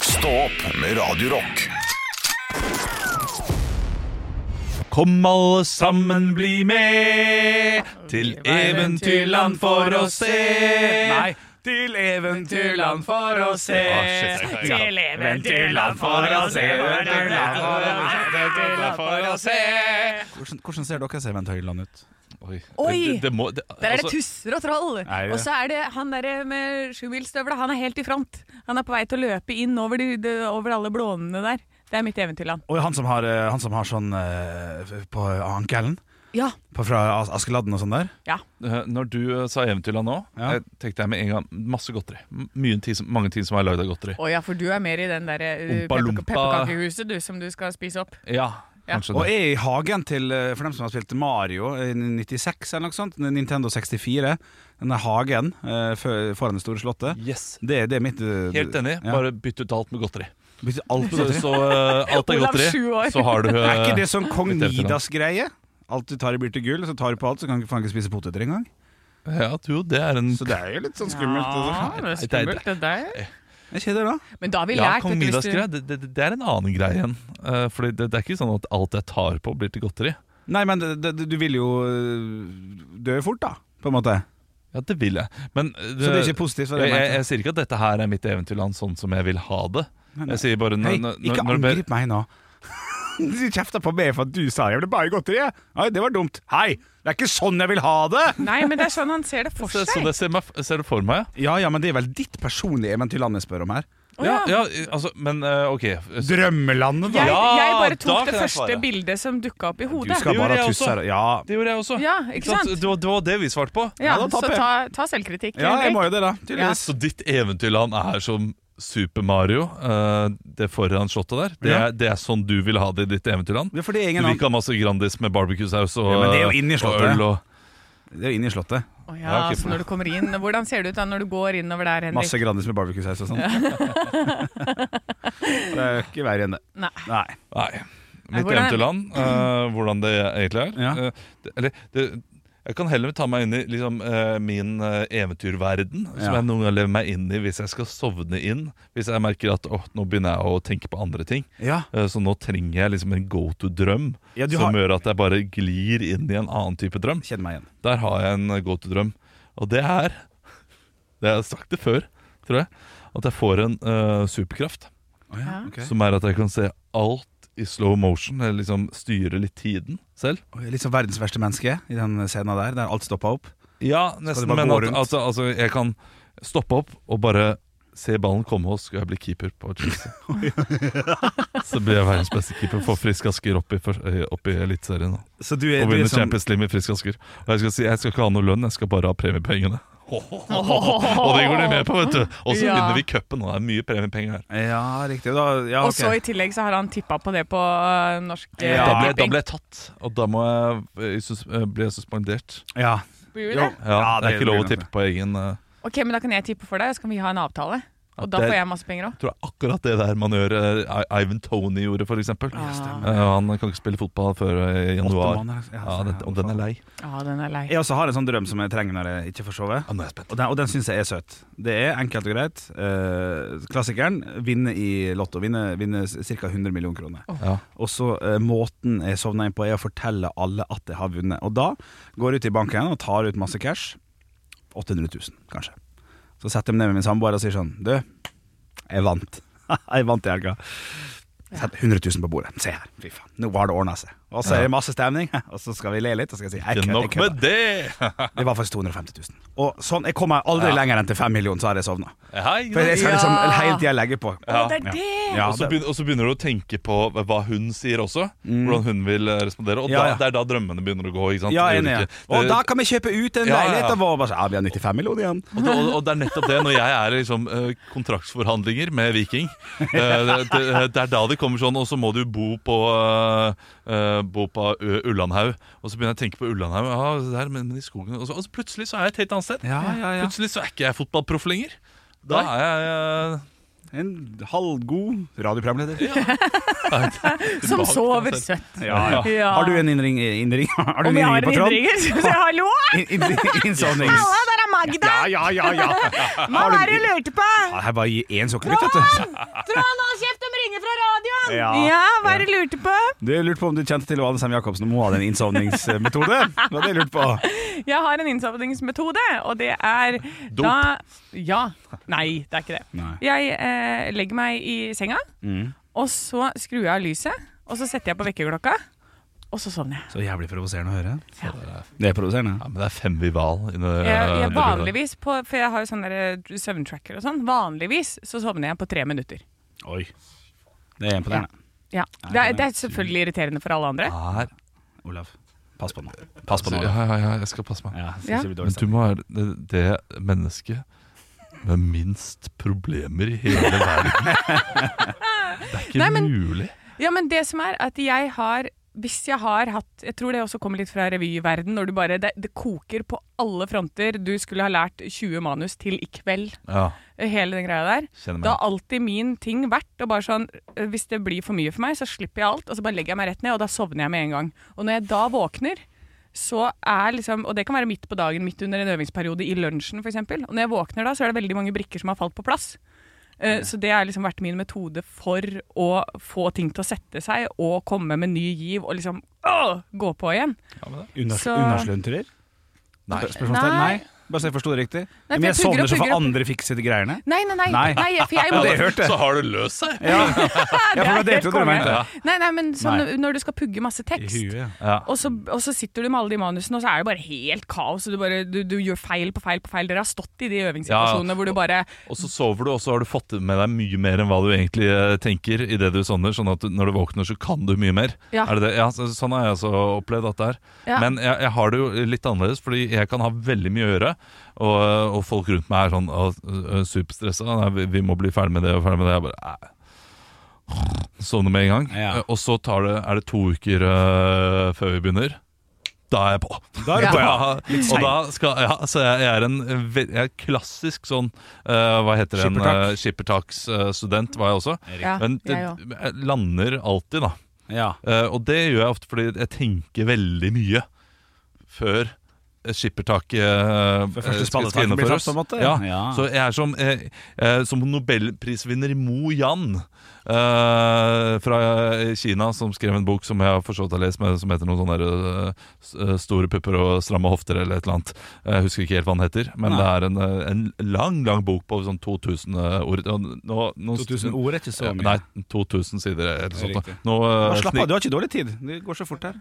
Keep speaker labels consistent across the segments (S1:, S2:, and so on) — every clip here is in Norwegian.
S1: Stå opp med Radio Rock.
S2: Kom alle sammen, bli med til eventyrland for å se.
S3: Nei.
S2: til
S3: Eventyrland for å se. Til eventyrland for å se. Eventyrland for å se. Eventyrland for å se.
S2: Hvordan, hvordan ser deres eventyrland ut?
S4: Oi!
S3: Det, det må, det,
S4: Der er det
S3: altså,
S4: tusser og troll.
S2: Nei, det-
S4: Og så er det han der med sjumilsstøvla. Han er helt i front. Han er på vei til å løpe inn over, de, de, over alle blånene der. Det er mitt eventyrland.
S2: Og han som har, eh, han som har sånn eh, på ankelen,
S4: Ja.
S2: på- fra As- Askeladden og sånn der.
S4: ja.
S3: eh, Når du eh, sa Eventyrland nå,
S2: Ja.
S3: jeg tenkte jeg med en gang masse godteri. M- Mye ting, som- mange ting som er lagd av godteri.
S4: Å ja, for du er mer i den derre uh,
S3: Ompa
S4: pepperka-
S3: Lumpa.
S4: pepperkakehuset du, som du skal spise opp.
S3: Ja,
S4: Ja.
S3: kanskje
S2: Og
S3: det.
S2: er i hagen til, eh, for dem som har spilt Mario i 96 eller noe sånt, Nintendo 64, denne hagen eh, før- foran det store slottet.
S3: Yes.
S2: Det, det er mitt eh,
S3: Helt enig.
S2: Ja.
S3: Bare bytt ut alt med godteri.
S2: Bytte alt på
S3: Så,
S2: godteri.
S3: så eh, alt er
S4: Olav,
S3: godteri.
S4: sju år.
S3: Så har du eh,
S2: Er ikke det sånn kong
S3: Litt eventyrland.
S2: Midas-greie? Alt du tar i blir til gull, så tar du på alt, så kan du faen ikke spise poteter engang.
S3: Ja, jo, det er en
S2: Så det er jo litt sånn skummelt.
S4: Ja,
S2: altså.
S4: det er skummelt, det der.
S2: Jeg kjeder da.
S4: Men da har vi
S3: Ja,
S4: lært
S3: kong
S4: vet du, hvis
S3: Midas
S4: du-
S3: greie, det, det, det er en annen greie igjen. Uh, fordi det, det er ikke sånn at alt jeg tar på, blir til godteri.
S2: Nei, men det, det, du vil jo øh, dø fort, da. På en måte.
S3: Ja, det vil jeg. Men uh,
S2: Så det er ikke positivt. var
S3: jeg,
S2: det
S3: jeg,
S2: jeg,
S3: jeg sier ikke at dette her er mitt eventyrland sånn som jeg vil ha det.
S2: mente.
S3: Jeg sier bare
S2: Hei,
S3: når, når,
S2: ikke
S3: når, når,
S2: angrip meg nå. Du kjefter på meg for at du sa jeg ville bare godteri. jeg. Nei, det var dumt. Hei, det er ikke sånn jeg vil ha det!
S4: Nei, men det er sånn han ser det for
S3: så,
S4: seg.
S3: så det ser, meg, ser det for meg, ja.
S2: Ja ja, men det er vel ditt personlige eventyrland jeg spør om her.
S4: Å
S3: ja.
S4: ja.
S3: ja altså, men uh, OK. Så-
S2: Drømmelandet,
S4: Jeg,
S2: da.
S3: Ja,
S4: jeg bare
S3: da
S4: tok
S3: kan
S4: det
S3: jeg
S4: første
S3: svare.
S4: bildet som dukka opp i
S2: Du
S4: hodet.
S2: skal
S3: Det
S2: bare
S3: gjorde
S2: ha
S3: jeg
S2: tusser.
S3: også.
S2: Ja.
S3: Det gjorde jeg også.
S4: Ja, ikke sant?
S3: Det, var, det var det vi svarte på.
S4: Ja,
S2: Ja, da
S4: så
S2: tapper jeg.
S4: ta, ta selvkritikk.
S2: ja, jeg
S4: Henrik.
S2: må jo det, da. Tydeligvis.
S3: Så ditt eventyrland er som Super Mario, uh, det foran slottet der. Det er,
S2: Ja.
S3: det er sånn du vil ha det i ditt eventyrland.
S2: Ja, for det er
S3: Du
S2: ingen
S3: vil
S2: annen
S3: ikke ha masse Grandis med barbecuesaus og,
S2: Ja, men det er jo inne i
S3: og
S2: slottet.
S3: øl og
S2: Det er jo inne i Slottet.
S4: Å ja,
S3: Ja, ok,
S4: så når du kommer inn, Hvordan ser det ut da når du går innover der, Henrik?
S2: Masse Grandis med barbecue-saus og sånn. det er jo ikke verre enn det.
S4: Nei.
S2: Nei.
S3: Nei.
S4: Nei,
S3: Mitt
S4: hvordan-
S3: eventyrland, eh, hvordan det egentlig er.
S2: Ja.
S3: Eh, det, eller det, jeg kan heller ta meg inn i liksom, eh, min eh, eventyrverden, som
S2: Ja.
S3: jeg noen ganger lever meg inn i hvis jeg skal sovne inn. Hvis jeg merker at åh, nå begynner jeg å tenke på andre ting.
S2: Ja.
S3: Eh, så nå trenger jeg liksom en go to-drøm
S2: Ja, du
S3: som
S2: har-
S3: gjør at jeg bare glir inn i en annen type drøm.
S2: Kjenner meg igjen.
S3: Der har jeg en go to-drøm. Og det er Det har jeg sagt det før, tror jeg. At jeg får en eh, superkraft.
S2: ja.
S4: Ja.
S2: ok.
S3: Som er at jeg kan se alt i slow motion, eller liksom styre litt tiden selv.
S2: Oi, Litt som verdens verste menneske i den scenen der, der alt stoppa opp.
S3: Ja,
S2: Skal
S3: nesten,
S2: det bare
S3: men
S2: gå
S3: at,
S2: rundt?
S3: altså, altså, jeg kan stoppe opp og bare se ballen komme, og så skal jeg bli keeper på Chelsea. så blir jeg verdens beste keeper for Frisk Asker opp i, først- eh, opp i Eliteserien. da.
S2: Så du sånn-
S3: Og vinner Champions League med Frisk Asker. Og jeg skal si jeg skal ikke ha noe lønn, jeg skal bare ha premiepengene. Og det går de med på, vet du. Og så
S4: Ja.
S3: vinner vi cupen, og det er mye premiepenger her.
S2: Ja, riktig. Da, ja,
S4: Og
S2: Ah, ok.
S4: så i tillegg så har han tippa på det på øh, norsk eh,
S2: Ja.
S3: Da, ble, da
S4: tipping.
S3: ble jeg tatt, og da må jeg, jeg sus- eh, ble jeg suspendert.
S2: ja.
S4: Blir du
S2: Jo.
S4: det?
S3: Ja,
S2: Ja,
S3: det,
S2: det
S3: er ikke lov å
S2: blir det.
S3: tippe på egen eh,
S4: Ok, men da kan jeg tippe for deg, og så kan vi ha en avtale.
S3: Ja,
S4: Og da
S3: det-
S4: får jeg masse penger òg.
S3: Jeg tror akkurat det der man gjør eh, I- Ivan Tony gjorde, for eksempel.
S4: Ja, stemmer.
S3: Eh, han kan ikke spille fotball før eh,
S2: Åtte
S3: januar.
S2: måneder,
S3: Ja, den, og den er lei.
S4: Ja, Ah, den er lei.
S2: Jeg også har en sånn drøm som jeg trenger når jeg ikke får sove.
S3: Ja, nå er jeg spent.
S2: Og den, og den syns jeg er søt. Det er enkelt og greit. Eh, klassikeren. Vinne i Lotto. Vinne, vinne ca. 100 millioner kroner.
S3: Ja.
S2: Og så eh, måten jeg sovner inn på er å fortelle alle at jeg har vunnet. Og da går jeg ut i banken og tar ut masse cash. 800 000, kanskje. Så setter jeg meg ned med min samboer og sier sånn Du, jeg vant. jeg vant i helga. Sett 100 000 på bordet. Se her, fy faen. Nå har det ordna seg. Og så er det masse stemning, og så skal vi le litt. Og så skal jeg si
S3: Ikke
S2: jeg kødder, jeg
S3: nok med
S2: kødder.
S3: det!
S2: Det var faktisk 250 000. Og sånn, jeg kommer aldri
S3: Ja.
S2: lenger enn til 5 millioner, så har jeg sovna.
S3: Hei,
S2: For jeg skal liksom
S4: Ja.
S2: hele tida legge på.
S4: Å, det er det!
S2: Ja,
S3: og, så
S2: det- Mm.
S3: begynner, og så begynner du å tenke på hva hun sier også. Hvordan hun vil eh, respondere. Og
S2: Ja,
S3: da,
S2: ja.
S3: det er da drømmene begynner å gå. ikke sant?
S2: Ja,
S3: Det er jo
S2: enig. Ja.
S3: ikke-
S2: Og
S3: det-
S2: da kan vi kjøpe ut den
S3: Ja, ja, ja.
S2: leiligheten vår. Bare så, Ja, vi har 95 millioner igjen.
S3: Og, det- og, og det er nettopp det, når jeg er i liksom, eh, kontraktsforhandlinger med Viking eh, det, det, det er da det kommer sånn, og så må du bo på, eh, eh, bo på Ø- Ullandhaug. Og så begynner jeg å tenke på Ullandhaug, ja, det der, men, men i skogen og så, og så plutselig så er jeg et helt annet sted.
S2: Ja, ja, ja.
S3: Plutselig så er ikke jeg fotballproff lenger. Da er jeg eh,
S2: En halvgod radioprogramleder.
S4: Som
S3: tilbake.
S4: sover søtt.
S2: Ja,
S4: Ja.
S2: Har du en innring, innring? Har du
S4: Om
S2: en
S4: jeg har
S2: innring på
S4: en
S2: tråden?
S4: innringer, så sier jeg hallo!
S2: In- in- Innsovnings...
S4: Halla, der er Magda!
S2: Ja, ja, ja,
S4: Hva
S2: ja. Har du-
S4: var det du lurte på?
S2: Ja, Her bare gi én sukkerbitt, vet du.
S4: Trond, han
S2: Ja.
S4: Ja, hva er det du lurte på?
S2: Du jeg lurte på om du kjente til Anne Sem Jacobsen, om hun hadde en innsovningsmetode? Det var det jeg lurte på.
S4: Jeg har en innsovningsmetode, og det er
S3: Dop.
S4: da Ja. Nei, det er ikke det.
S2: Nei.
S4: Jeg eh, legger meg i senga, og så skrur jeg av lyset, og så setter jeg på vekkerklokka, og så sovner jeg.
S2: Så jævlig provoserende å høre.
S4: Ja.
S2: Det er provoserende.
S3: Ja, men det er fem Vival. inne,
S4: Jeg,
S3: eh,
S4: jeg vanligvis på, For jeg har jo sånn der, eh, søvntracker og sånn. Vanligvis så sovner jeg på tre minutter.
S2: Oi. Det er imponerende.
S4: Ja. Det er, det er selvfølgelig irriterende for alle andre.
S3: Her.
S2: Olav, pass på nå. Pass på nå.
S3: Ja, ja, ja, jeg skal passe meg.
S2: Ja,
S4: Ja.
S2: skal ikke
S3: Men
S2: bli dårlig
S3: du må være det, det mennesket med minst problemer i hele verden. Det er ikke
S4: Nei, men-
S3: mulig.
S4: Ja, men det som er at jeg har hvis jeg har hatt Jeg tror det også kommer litt fra revyverden, når du bare det, det koker på alle fronter. Du skulle ha lært 20 manus til i kveld,
S3: Ja,
S4: hele den greia der.
S3: kjenner meg.
S4: Da har alltid min ting vært å bare sånn eh, Hvis det blir for mye for meg, så slipper jeg alt, og så bare legger jeg meg rett ned, og da sovner jeg med en gang. Og når jeg da våkner, så er liksom Og det kan være midt på dagen, midt under en øvingsperiode, i lunsjen f.eks. Og når jeg våkner da, så er det veldig mange brikker som har falt på plass. Eh, Så det har liksom vært min metode for å få ting til å sette seg og komme med ny giv og liksom åh, gå på igjen.
S2: Unders-
S4: Så-
S2: Underslønnturer?
S3: Nei.
S2: Spørsmålstegn?
S4: Nei.
S2: Nei. Bare så jeg forsto det riktig.
S4: Nei,
S2: Men jeg
S4: for jeg pugger
S2: sovner
S4: og
S2: så får
S4: pugger og-
S2: andre fikse de greiene.
S4: Nei, nei, nei.
S2: Nei.
S4: nei for jeg må,
S2: Ja, det hørte jeg.
S3: Så har det løst seg.
S2: Ja, ja for det
S4: helt
S2: er det du
S4: konge.
S2: mente.
S4: Nei, nei, men sånn
S2: Nei.
S4: når du skal pugge masse
S2: I
S4: tekst.
S2: huet.
S3: Ja.
S4: Og så, og så sitter du med alle de manusene, og så er det bare helt kaos. Og du, bare, du, du gjør feil på feil på feil. Dere har stått i de øvingssituasjonene
S3: Ja,
S4: hvor du bare
S3: Og så sover du, og så har du fått med deg mye mer enn hva du egentlig eh, tenker. I det du sovner, sånn at du, når du våkner, så kan du mye mer.
S4: Ja.
S3: Er det det? Ja, så, sånn har jeg også opplevd at det er.
S4: Ja.
S3: Men jeg, jeg har det jo litt annerledes, fordi jeg kan ha veldig mye å gjøre. Og, og folk rundt meg er sånn «Å, ø, superstressa. Nei, vi, vi må bli ferdig med det og ferdig med det. Jeg bare «Nei». Sovner med en gang.
S2: Ja.
S3: Og så tar det, er det to uker ø, før vi begynner. Da er jeg på.
S2: Da er det
S4: Ja.
S2: på, ja.
S3: Ja, og da skal, ja, så jeg, jeg er en ve- jeg er klassisk sånn eh, Hva heter det? en,
S2: Skippertak.
S3: eh, Skippertaksstudent var jeg også.
S4: Ja,
S3: Men det,
S4: jeg òg.
S3: jeg lander alltid, da.
S2: ja.
S3: Eh, og det gjør jeg ofte fordi jeg tenker veldig mye før eh, skippertaket eh,
S2: Før
S3: eh,
S2: første
S3: skal- skal
S2: spalletaket blir
S3: innenfor
S2: tatt,
S3: oss.
S2: på en måte.
S3: Ja.
S2: Ja.
S3: Så jeg er som, eh, eh, som nobelprisvinner Mo Yan eh, fra eh, Kina, som skrev en bok som jeg for så vidt har lest, men som heter noe sånn der eh, s- eh, 'Store pupper og stramme hofter' eller et eller annet. Jeg husker ikke helt hva den heter, men
S2: Nei.
S3: det er en, eh, en lang, lang bok på sånn 2000 ord. Og nå- nå-
S2: 2000 ord er ikke så mye.
S3: Nei, 2000 sider eller sånt. da.
S2: Riktig.
S3: Nå, eh,
S2: Bare slapp
S3: snik-
S2: av, du har ikke dårlig tid. Det går så fort her.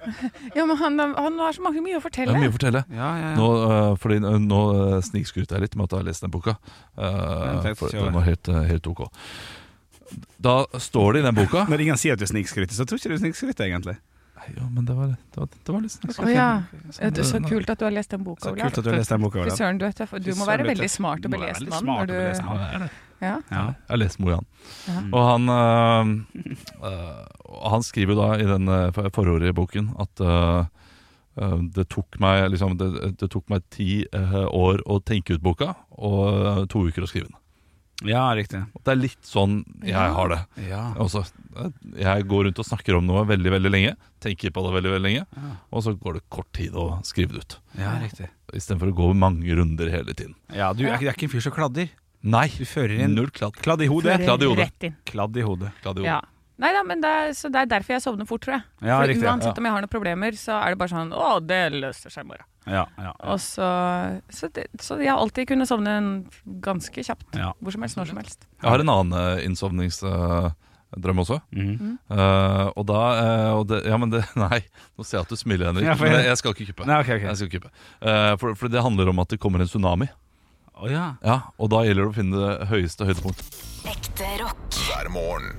S4: Ja, men han, han har så mange mye å
S3: Det
S4: fortelle.
S3: er mye å fortelle.
S2: Ja, ja,
S3: Nå, øh, fordi øh, nå øh, snikskryter jeg litt med at jeg har lest den boka. Øh,
S2: takk,
S3: for
S2: kjør.
S3: den var helt, øh, helt ok. Da står det i den boka
S2: Når ingen sier at du snikskryter, så tror jeg ikke du snikskryter, egentlig.
S3: Nei, jo, men det var, det var, det var litt snikskryt.
S4: Å ja.
S3: Sånn,
S4: Det er Så
S3: øh,
S4: kult at du har lest den boka,
S2: Så
S4: Olav.
S2: kult at du har lest den boka.
S4: Fy
S2: Olav.
S4: søren, du, vet det, for du
S2: Fy
S4: må
S2: søren,
S4: være
S2: vet du.
S4: veldig smart
S2: Du
S4: og
S2: må være
S4: belest
S2: veldig
S4: mann.
S2: smart og
S4: når
S2: belest mann.
S4: du-
S3: Ja,
S4: Ja.
S2: Ja.
S3: Jeg har lest Mojan.
S4: Ja.
S3: Og han, øh, øh, og han skriver jo da i den øh, for- forordet i boken at øh, øh, det tok meg liksom, det, det tok meg ti øh, år å tenke ut boka, og øh, to uker å skrive den.
S2: ja, riktig.
S3: Og Det er litt sånn jeg har det.
S2: Ja.
S3: Altså, jeg går rundt og snakker om noe veldig veldig lenge, tenker på det veldig veldig lenge, og så går det kort tid å skrive det ut.
S2: ja, riktig.
S3: Istedenfor å gå mange runder hele tiden.
S2: Ja, du er, ikke- du er ikke en fyr som kladder.
S3: Nei!
S2: Du fører en
S3: Null kladd.
S2: kladd i hodet.
S4: Fører
S3: kladd i hodet.
S4: Rett inn.
S2: Kladd i hodet.
S3: Kladd i hodet.
S4: Ja. Nei da, men det er, så det er derfor jeg sovner fort, tror jeg.
S2: Ja,
S4: For
S2: riktig, ja.
S4: uansett om jeg har noen problemer, så er det bare sånn Å, det løser seg i morgen.
S2: Ja, ja, ja.
S4: Og så, så, det, så jeg har alltid kunnet sovne en- ganske kjapt.
S2: Ja.
S4: Hvor som helst, når som helst.
S3: Jeg har en annen eh, innsovningsdrøm også.
S2: Mhm.
S3: Eh, og da eh, og det, Ja, men det Nei, nå ser jeg at du smiler, Henrik.
S2: Ja, for
S3: men
S2: jeg-
S3: jeg, jeg skal ikke kuppe.
S2: Nei, ok, ok.
S3: Jeg skal ikke kuppe. Eh, for, for det handler om at det kommer en tsunami.
S2: Å, ja.
S3: Ja, Og da gjelder det å finne det høyeste høydepunktet.
S5: Ekte rock.
S1: hver morgen.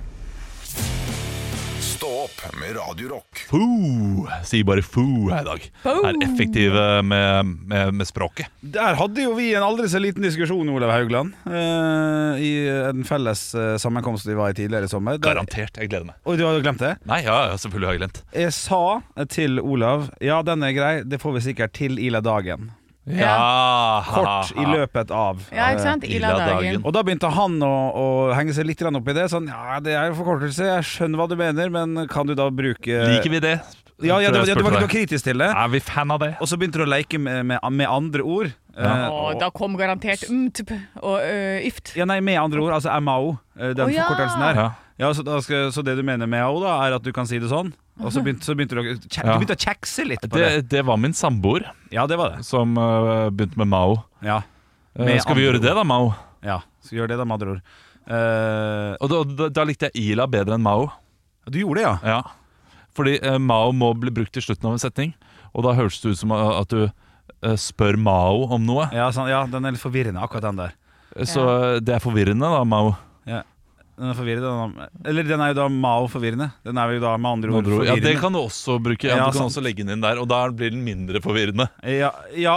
S1: Stå opp med Radio Rock.
S3: Foo! Sier bare foo her i dag.
S4: Foo!
S3: Er effektive med, med, med språket.
S2: Der hadde jo vi en aldri så liten diskusjon, Olav Haugland, eh, i en felles eh, sammenkomst vi var i tidligere i sommer. Der-
S3: Garantert. Jeg gleder meg.
S2: Oi, du hadde glemt det?
S3: Nei, ja, ja, selvfølgelig har jeg glemt.
S2: Jeg sa til Olav Ja, den er grei, det får vi sikkert til ila dagen
S3: Ja,
S2: Kort i løpet av eh,
S4: Ja, ikke sant?
S3: Ila
S4: Ila
S3: dagen.
S4: dagen.
S2: Og da begynte han å, å henge seg litt grann opp i det Sånn, ja, det er jo forkortelse Jeg skjønner hva du mener, men kan du da bruke
S3: Liker vi det?
S2: Ja, ja,
S3: Tror jeg
S2: det, ja du, var,
S3: spurte
S2: du var
S3: deg.
S2: kritisk til det
S3: Er vi fan av det?
S2: Og så begynte du å leke med, med, med andre ord Eh,
S4: Og da kom garantert MTP og øh, ø, IFT.
S2: ja, nei, med andre ord, altså MAO, eh, den
S4: Å, ja.
S2: forkortelsen der.
S3: Ja.
S2: Ja, så, da skal, så det du mener med AO, da, er at du kan si det sånn? Og så begynte, så begynte du, å- kje-
S3: Ja.
S2: du begynte å kjekse litt på
S3: Det,
S2: det.
S3: det var min samboer
S2: Ja, det var det.
S3: som øh, begynte med Mao.
S2: Ja,
S3: Eh,
S2: Med
S3: skal vi
S2: andre
S3: gjøre det, da, Mao?
S2: ja. Så gjør det, da, med andre ord. Eh,
S3: Og da, da, da likte jeg Ila bedre enn Mao.
S2: du gjorde det, ja?
S3: Ja. Fordi eh, Mao må bli brukt i slutten av en setning, og da høres det ut som eh, at du eh, spør Mao om noe.
S2: Ja, sånn, ja, den er litt forvirrende, akkurat den der.
S3: Så eh, det er forvirrende, da, Mao.
S2: Den er forvirrende, den er, Eller den er jo da Mao forvirrende. Den er jo da med andre ord
S3: Ja,
S2: forvirrende.
S3: det kan du også bruke. Ja,
S2: Ja,
S3: du kan
S2: sant.
S3: også legge den inn der, og da blir den mindre forvirrende.
S2: ja, ja,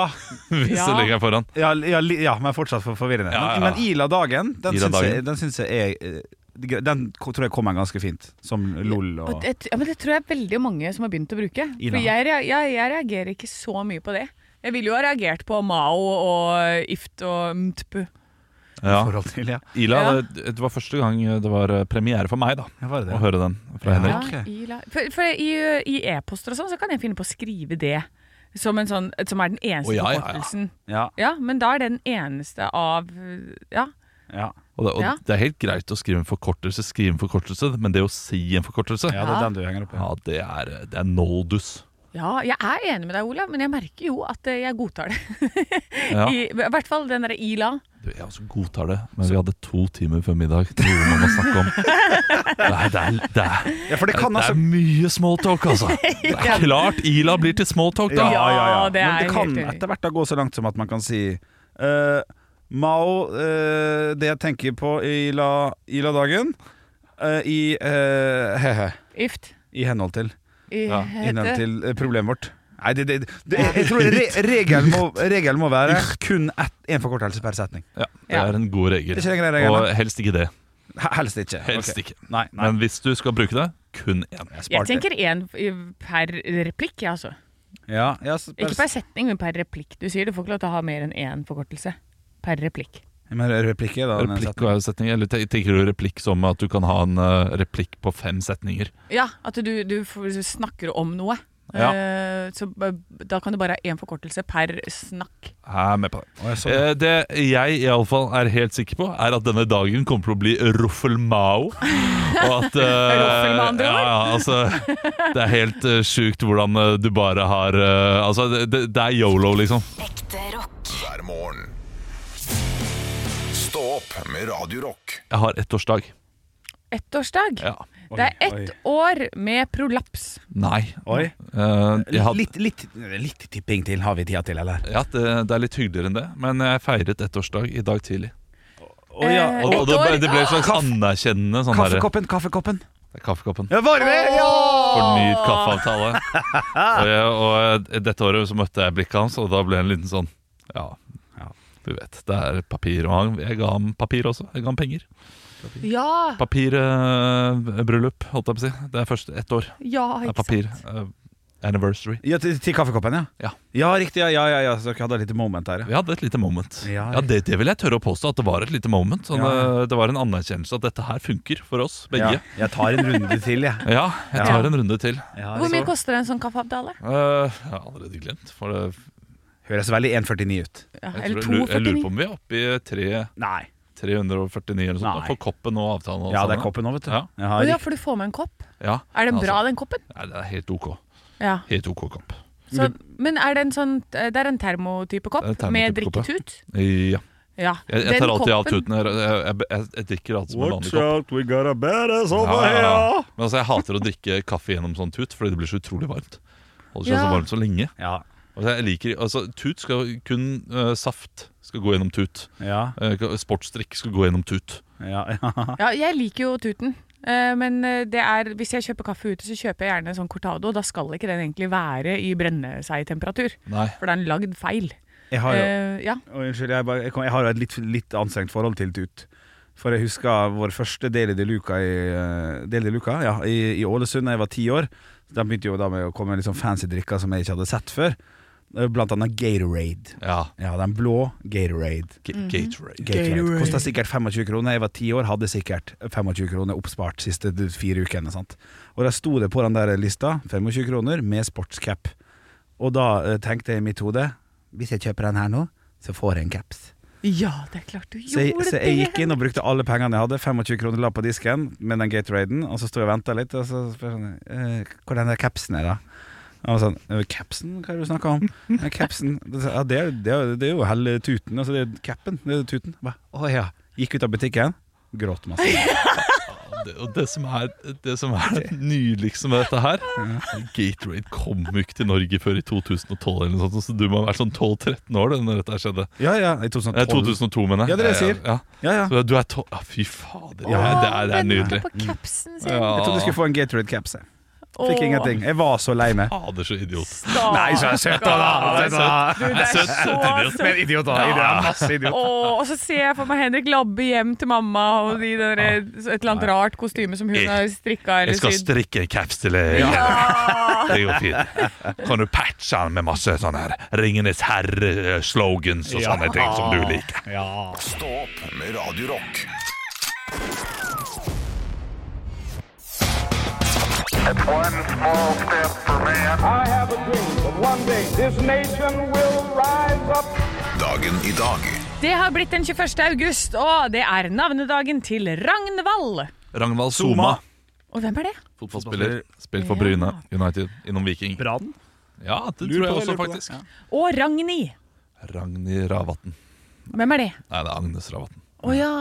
S3: Hvis
S4: Ja.
S3: du legger den foran.
S2: ja, ja, li- ja, men fortsatt for forvirrende.
S3: Ja, ja.
S2: Men, men Ila Dagen, den
S3: Ila
S2: syns jeg,
S3: Dagen.
S2: den syns jeg er eh, gre- Den ko- tror jeg kommer ganske fint, som LOL
S4: Og
S2: og
S4: det, ja, men det tror jeg er veldig mange som har begynt å bruke. For
S2: Ina.
S4: jeg, rea- jeg, jeg reagerer ikke så mye på det. Jeg ville jo ha reagert på Mao og IFT og MTP.
S3: Ja.
S2: forhold til, ja.
S3: Ila,
S4: Ja.
S3: Det, det var første gang det var eh, premiere for meg, da.
S2: ja var det
S3: Å
S2: det?
S3: høre den fra
S2: Ja.
S3: Henrik.
S2: Ok.
S4: Ila. For, for i, ø, i e-poster og sånn så kan jeg finne på å skrive det som, en sånn, som er den eneste
S3: Å, ja, ja, ja.
S4: forkortelsen.
S2: Ja,
S4: Ja, men da er det den eneste av Ja.
S2: ja.
S3: Og, det, og
S4: Ja.
S3: det er helt greit å skrive en forkortelse, skrive en forkortelse, men det å si en forkortelse,
S2: Ja,
S3: ja,
S2: det er den du henger opp i.
S3: det, er, det er noldus.
S4: ja, jeg er enig med deg, Olav, men jeg merker jo at ø, jeg godtar det.
S3: Ja.
S4: I, I hvert fall den derre Ila.
S3: Du, jeg også godtar det, men vi hadde to timer før middag til noe man må snakke om. Nei, det er, det er,
S2: Ja, for det kan
S3: det
S2: altså
S3: er mye smalltalk, altså. Det er klart Ila blir til smalltalk, da.
S4: Ja, det
S2: Men
S4: er
S2: det kan
S4: helt enig.
S2: etter hvert da gå så langt som at man kan si eh, Mao, eh, det jeg tenker på i la, i la dagen eh, I eh, he-he.
S4: IFT.
S2: I henhold til.
S4: I,
S3: Ja,
S2: I henhold
S4: heter-
S2: til eh, problemet vårt. Nei, det, det, det, jeg tror re, regelen, må, regelen må være kun én forkortelse per setning.
S3: Ja, det
S4: Ja.
S3: er en god
S2: Det
S3: regel.
S2: er ikke den greia regelen.
S3: Og helst ikke det.
S2: He- Helst ikke.
S3: Helst
S2: Ok.
S3: ikke.
S2: Nei, nei.
S3: Men hvis du skal bruke det, kun én.
S4: Jeg
S2: sparte.
S4: tenker én per replikk, jeg, altså.
S2: Ja, ja, så-
S4: Ikke per setning, men per replikk. Du sier du får ikke lov til å ha mer enn én forkortelse per replikk.
S2: Men replikk er da en
S3: Replikk
S2: setning.
S3: og setning, eller te- tenker du replikk som at du kan ha en eh, replikk på fem setninger?
S4: Ja, at du, du f- snakker om noe.
S3: Ja.
S4: Eh, Så b- da kan du bare ha én forkortelse per snakk.
S3: Jeg er med på det.
S2: Å, jeg så det.
S3: Eh, Det jeg iallfall er helt sikker på, er at denne dagen kommer til å bli ruffelmao. Og at eh,
S4: Ruffelmao, det
S3: ja,
S4: var.
S3: ja, altså, Det er helt eh, sjukt hvordan eh, du bare har eh, Altså, det, det det er yolo, liksom.
S5: Ekte rock.
S1: hver morgen. Stå opp med Radio Rock.
S3: Jeg har ettårsdag.
S4: Ettårsdag.
S3: Ja.
S4: Det er
S2: Oi,
S4: ett år med prolaps.
S3: Nei.
S2: Oi.
S3: Eh, jeg had,
S2: Litt, litt, litt tipping til har vi tida til, eller?
S3: ja, det, det er litt hyggeligere enn det, men jeg feiret ettårsdag i dag tidlig.
S2: Å, sånn ja.
S4: Eh,
S3: Og, og det, ble-
S4: Ettår?
S3: det ble en slags
S2: Kaffe-
S3: anerkjennende sånn derre
S2: Kaffekoppen, kaffekoppen.
S3: Det er Kaffekoppen.
S2: Ja, var det det? Ja!
S3: Fornyet kaffeavtale. og, jeg, og jeg- dette året så møtte jeg blikket hans, og da ble han en liten sånn Ja,
S2: Ja.
S3: du vet. Det er papir. Og han, jeg ga ham papir også. Jeg ga ham penger.
S4: Ja,
S3: Papirbryllup, holdt jeg på å si. Det er først ett år.
S4: ja,
S3: Det er
S4: ikke
S3: papir.
S4: sant.
S3: eh, anniversary.
S2: Ja, til, til kaffekoppen, ja?
S3: Ja.
S2: Ja, riktig. Ja, ja, ja, ja. Så dere hadde et lite moment der, ja.
S3: Vi hadde et lite moment.
S2: Ja,
S3: Ja, det, det vil jeg tørre å påstå, at det var et lite moment. Sånn,
S2: Ja.
S3: eh, Det var en anerkjennelse at dette her funker for oss begge.
S2: Ja, jeg tar en runde til, jeg.
S3: Ja, jeg tar
S4: Ja.
S3: en runde til.
S2: Ja,
S4: Hvor mye
S3: Altså.
S2: det
S4: koster en sånn kaffeavtale?
S3: Eh, jeg har allerede glemt. For det,
S2: høres veldig 1,49 ut.
S4: Ja,
S3: jeg,
S4: eller
S3: tror, jeg, lurer, jeg lurer på
S4: 2,49?
S3: om vi er oppe i tre
S2: Nei.
S3: 349 eller sånt, da,
S2: Nei.
S3: for koppen og avtalen. og
S2: Ja,
S3: alt
S2: det er
S3: sammen.
S2: koppen nå, vet du.
S3: Ja.
S4: Å ja,
S2: riktig.
S4: for du får med en kopp.
S3: Ja,
S4: Er den bra,
S3: altså,
S4: den koppen?
S3: Nei, det er helt ok.
S4: Ja.
S3: Helt ok kopp.
S4: Så, men er det en sånn Det er en termotype kopp
S3: Det er en
S4: med
S3: termotype kopp,
S4: drikketut?
S3: Ja.
S4: Ja.
S3: Jeg, jeg
S4: Den
S3: tar alltid av
S4: koppen-
S3: tuten. Jeg, jeg, jeg- jeg, jeg drikker alltid som en vanlig kopp.
S2: out, we got a badass
S3: Ja, ja, ja. Men altså, jeg hater å drikke kaffe gjennom sånn tut, fordi det blir så utrolig varmt. Holder seg så
S4: Ja.
S3: varmt så lenge.
S2: Ja.
S3: Altså, jeg liker, altså, tut skal kun eh, Saft skal gå gjennom tut.
S2: Ja,
S3: Eh, sportsdrikk skal gå gjennom tut.
S2: ja, ja.
S4: Ja, jeg liker jo tuten. Eh, Men eh, det er, hvis jeg kjøper kaffe ute, så kjøper jeg gjerne en sånn cortado. Da skal ikke den egentlig være i brenne seg-temperatur,
S3: Nei.
S4: for den er lagd feil.
S2: Jeg har jo
S4: Eh, ja.
S2: Å, Unnskyld, jeg, bare, jeg, kom, jeg har jo et litt, litt anstrengt forhold til Tut. For jeg husker vår første del i de Luca i, eh, Deli de Luca, ja, i, i Ålesund da jeg var ti år. De begynte jo da med å komme med litt sånn fancy drikker som jeg ikke hadde sett før. Eh, Blant annet Gatorade.
S3: Ja.
S2: Ja, den blå Gatorade.
S3: Ga- Gatorade.
S2: Gatorade.
S4: Gatorade.
S2: Kosta sikkert 25 kroner. Jeg var ti år, hadde sikkert 25 kroner oppspart siste d- fire ukene. Sant? Og da sto det på den der lista 25 kroner med sportscap. Og da eh, tenkte jeg i mitt hode Hvis jeg kjøper den her nå, så får jeg en caps.
S4: Ja, det er klart du
S2: Så jeg,
S4: gjorde
S2: så jeg gikk inn og brukte alle pengene jeg hadde, 25 kroner la på disken med den Gatoraden, og så sto jeg og venta litt, og så spør jeg sånn eh, Hvor den der capsen er, da? Og jeg var sånn «Eh, Capsen? Hva er det du snakker om? «Eh, Capsen? Da sa jeg, Ja, det er, det er, det er jo hele tuten. Altså, det er capen. Det er tuten. Jeg bare, Å ja. Gikk ut av butikken, gråt masse.
S3: Det, og det som er det som er det nydeligste med dette her Gatorade kom jo ikke til Norge før i 2012, eller noe sånt, så du må ha vært sånn 12-13 år da når dette her skjedde.
S2: Ja ja,
S3: Eh,
S2: i 2012.
S3: 2002, mener jeg.
S2: Ja, det er det jeg sier.
S3: Ja,
S2: Ja, ja.
S3: Så du er tolv ja, Fy fader,
S2: Ja.
S3: det, er, det er nydelig. Mm.
S5: Venter på capsen sin.
S3: Ja.
S2: Jeg trodde jeg skulle få en Gatorade caps. jeg.
S4: Åh,
S2: Fikk ingenting. Jeg var så lei meg.
S3: Fader, så idiot.
S4: stakkars. Du, det er så søtt.
S2: Men idiot, da. Det er masse idiot.
S4: Åh, og så ser jeg for meg Henrik labbe hjem til mamma og i det der, et eller annet rart kostyme som hun har strikka eller
S3: Jeg skal
S4: sydd. Ah.
S3: strikke en caps til deg. Det går fint. Kan du patche den med masse sånne her Ringenes herre-slogans og sånne ting som du liker?
S1: Stå opp med Radio Rock.
S6: One small step for man.
S7: I have a dream that one day this nation will rise up.
S1: Dagen i dag
S4: Det har blitt den 21. august, og det er navnedagen til Ragnvald.
S3: Ragnvald Soma,
S4: Og hvem er det?
S3: fotballspiller. Spilt for Bryne United, innom Viking.
S2: Brann?
S3: Ja, det tror jeg
S2: Lurer på det,
S3: også,
S2: lurer på det.
S3: faktisk.
S4: Og Ragnhild.
S3: Ragnhild Ravatn.
S4: Hvem er det?
S3: Nei, det er Agnes Ravatn.
S4: Å ja.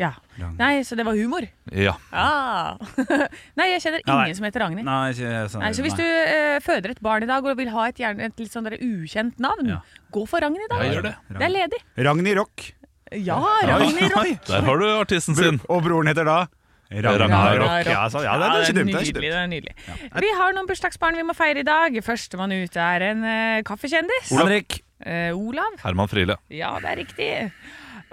S4: ja. Nei, så det var humor.
S3: Ja.
S4: Ah. Nei, jeg kjenner
S2: Nei.
S4: ingen som heter Ragnhild.
S2: Nei, ikke sånn.
S4: Nei, så hvis du eh, føder et barn i dag og vil ha et, gjerne et litt sånn der ukjent navn,
S2: Ja.
S4: gå for Ragnhild da.
S3: Ja, gjør det.
S4: Det er ledig.
S2: Ragnhild Rock.
S4: Ja, Ragnhild Rock.
S3: Der har du artisten sin.
S2: Og broren heter da
S3: Ragnarok.
S2: Ja, så, ja, det er ikke dumt. Det er
S4: nydelig.
S2: ikke dumt.
S4: Det er nydelig. Vi har noen bursdagsbarn vi må feire i dag. Førstemann ut er en eh, kaffekjendis.
S2: Henrik.
S4: Eh, Olav.
S3: Herman Friele.
S4: Ja, det er riktig.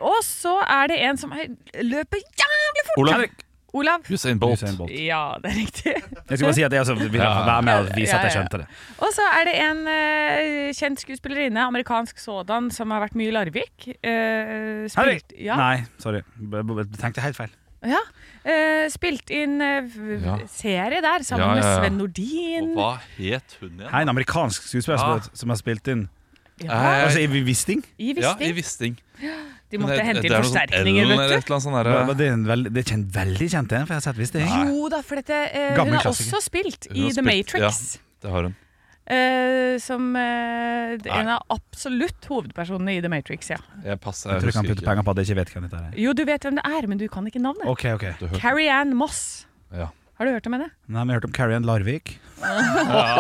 S4: Og så er det en som er- løper jævlig fort.
S3: Olav
S4: Olav.
S3: Usain Bolt.
S2: Usain Bolt.
S4: Ja, det er riktig.
S2: Jeg skal bare si at jeg også vil være med og vise
S4: Ja,
S2: at jeg
S4: ja.
S2: skjønte det.
S4: Og så er det en eh, kjent skuespillerinne, amerikansk sådan, som har vært mye i Larvik. Eh, spilt, ja,
S2: Nei, sorry. B- b- b- Tenkte helt feil.
S4: ja, eh, spilt inn eh, v-
S3: Ja.
S4: serie der
S3: Ja, ja,
S4: sammen
S3: ja.
S4: med Sven Nordin.
S3: Og hva het hun igjen?
S2: Hei, en amerikansk skuespiller som-
S3: Ja.
S2: som har spilt inn
S4: Ja,
S2: Altså, i Wisting?
S4: I
S3: Ja,
S4: Wisting.
S3: i Wisting.
S4: De måtte
S3: Det-
S4: hente
S3: det
S4: inn
S3: er noe sånn Ellen
S4: forsterkninger,
S3: eller
S4: vet
S3: et
S4: du.
S3: eller annet sånn derre-
S2: Det er en veldig, det er ikke en veldig kjent en, for jeg har sett Wisting.
S4: Jo da, for dette, eh,
S2: Gammel
S4: hun har
S2: klassiker.
S4: også spilt
S3: Hun
S4: i
S3: har
S4: The
S3: spilt-
S4: Matrix.
S3: Ja, det har hun.
S4: eh, som eh,
S3: Nei.
S4: en av absolutt hovedpersonene i The Matrix, ja.
S3: Jeg passer,
S2: Jeg
S3: jeg,
S2: tror jeg kan
S3: husker
S2: putte
S3: ikke.
S2: penger på at jeg ikke vet hvem dette er.
S4: Jo, du vet hvem det er, men du kan ikke navnet.
S2: Ok, ok.
S3: Du hørte-
S4: Carrie Ann Moss.
S3: Ja.
S4: Har du hørt om henne?
S2: Nei, men jeg har hørt om Carrie Ann Larvik.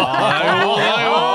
S2: Ah,
S4: Å, det er jo-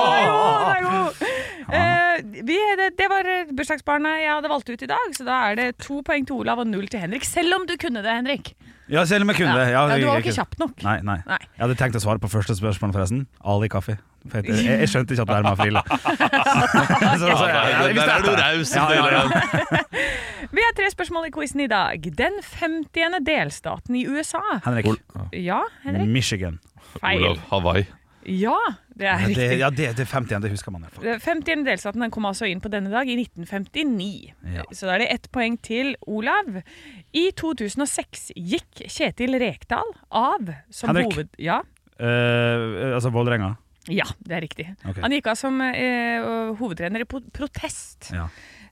S4: Eh, vi, det, det var eh, bursdagsbarnet jeg hadde valgt ut i dag, så da er det to poeng til Olav og null til Henrik. Selv om du kunne det, Henrik.
S2: Ja, selv om jeg kunne det.
S4: Ja,
S2: Ja,
S4: du var
S2: jeg- jeg
S4: ikke kjapp nok.
S2: Nei, nei.
S4: Nei.
S2: Jeg hadde tenkt å svare på første spørsmål, forresten. Ali Kaffi. For Jeg, jeg, jeg skjønte ikke at det er Herman Friele. Så- så-
S3: Ja,
S2: jeg- jeg
S3: der, der er
S2: visste
S3: du
S2: det.
S3: raus.
S2: Ja, ja, ja.
S3: Dylan.
S4: Vi har tre spørsmål i quizen i dag. Den 50. delstaten i USA.
S2: Henrik.
S4: Ja, Henrik?
S2: Michigan.
S3: Olav
S4: Feil.
S3: Hawaii.
S4: Ja, det er
S2: Mm, Ja, det,
S4: riktig.
S2: ja, det, det er 50 det husker man i hvert fall.
S4: Den 50. delstaten den kom altså inn på denne dag i 1959.
S2: Ja.
S4: Så da er det ett poeng til Olav. I 2006 gikk Kjetil Rekdal av som
S2: Henrik.
S4: hoved... Ja,
S2: Eh, altså Vålerenga.
S4: ja, det er riktig.
S2: Ok.
S4: Han gikk av som eh, hovedtrener i po- protest.
S2: Ja.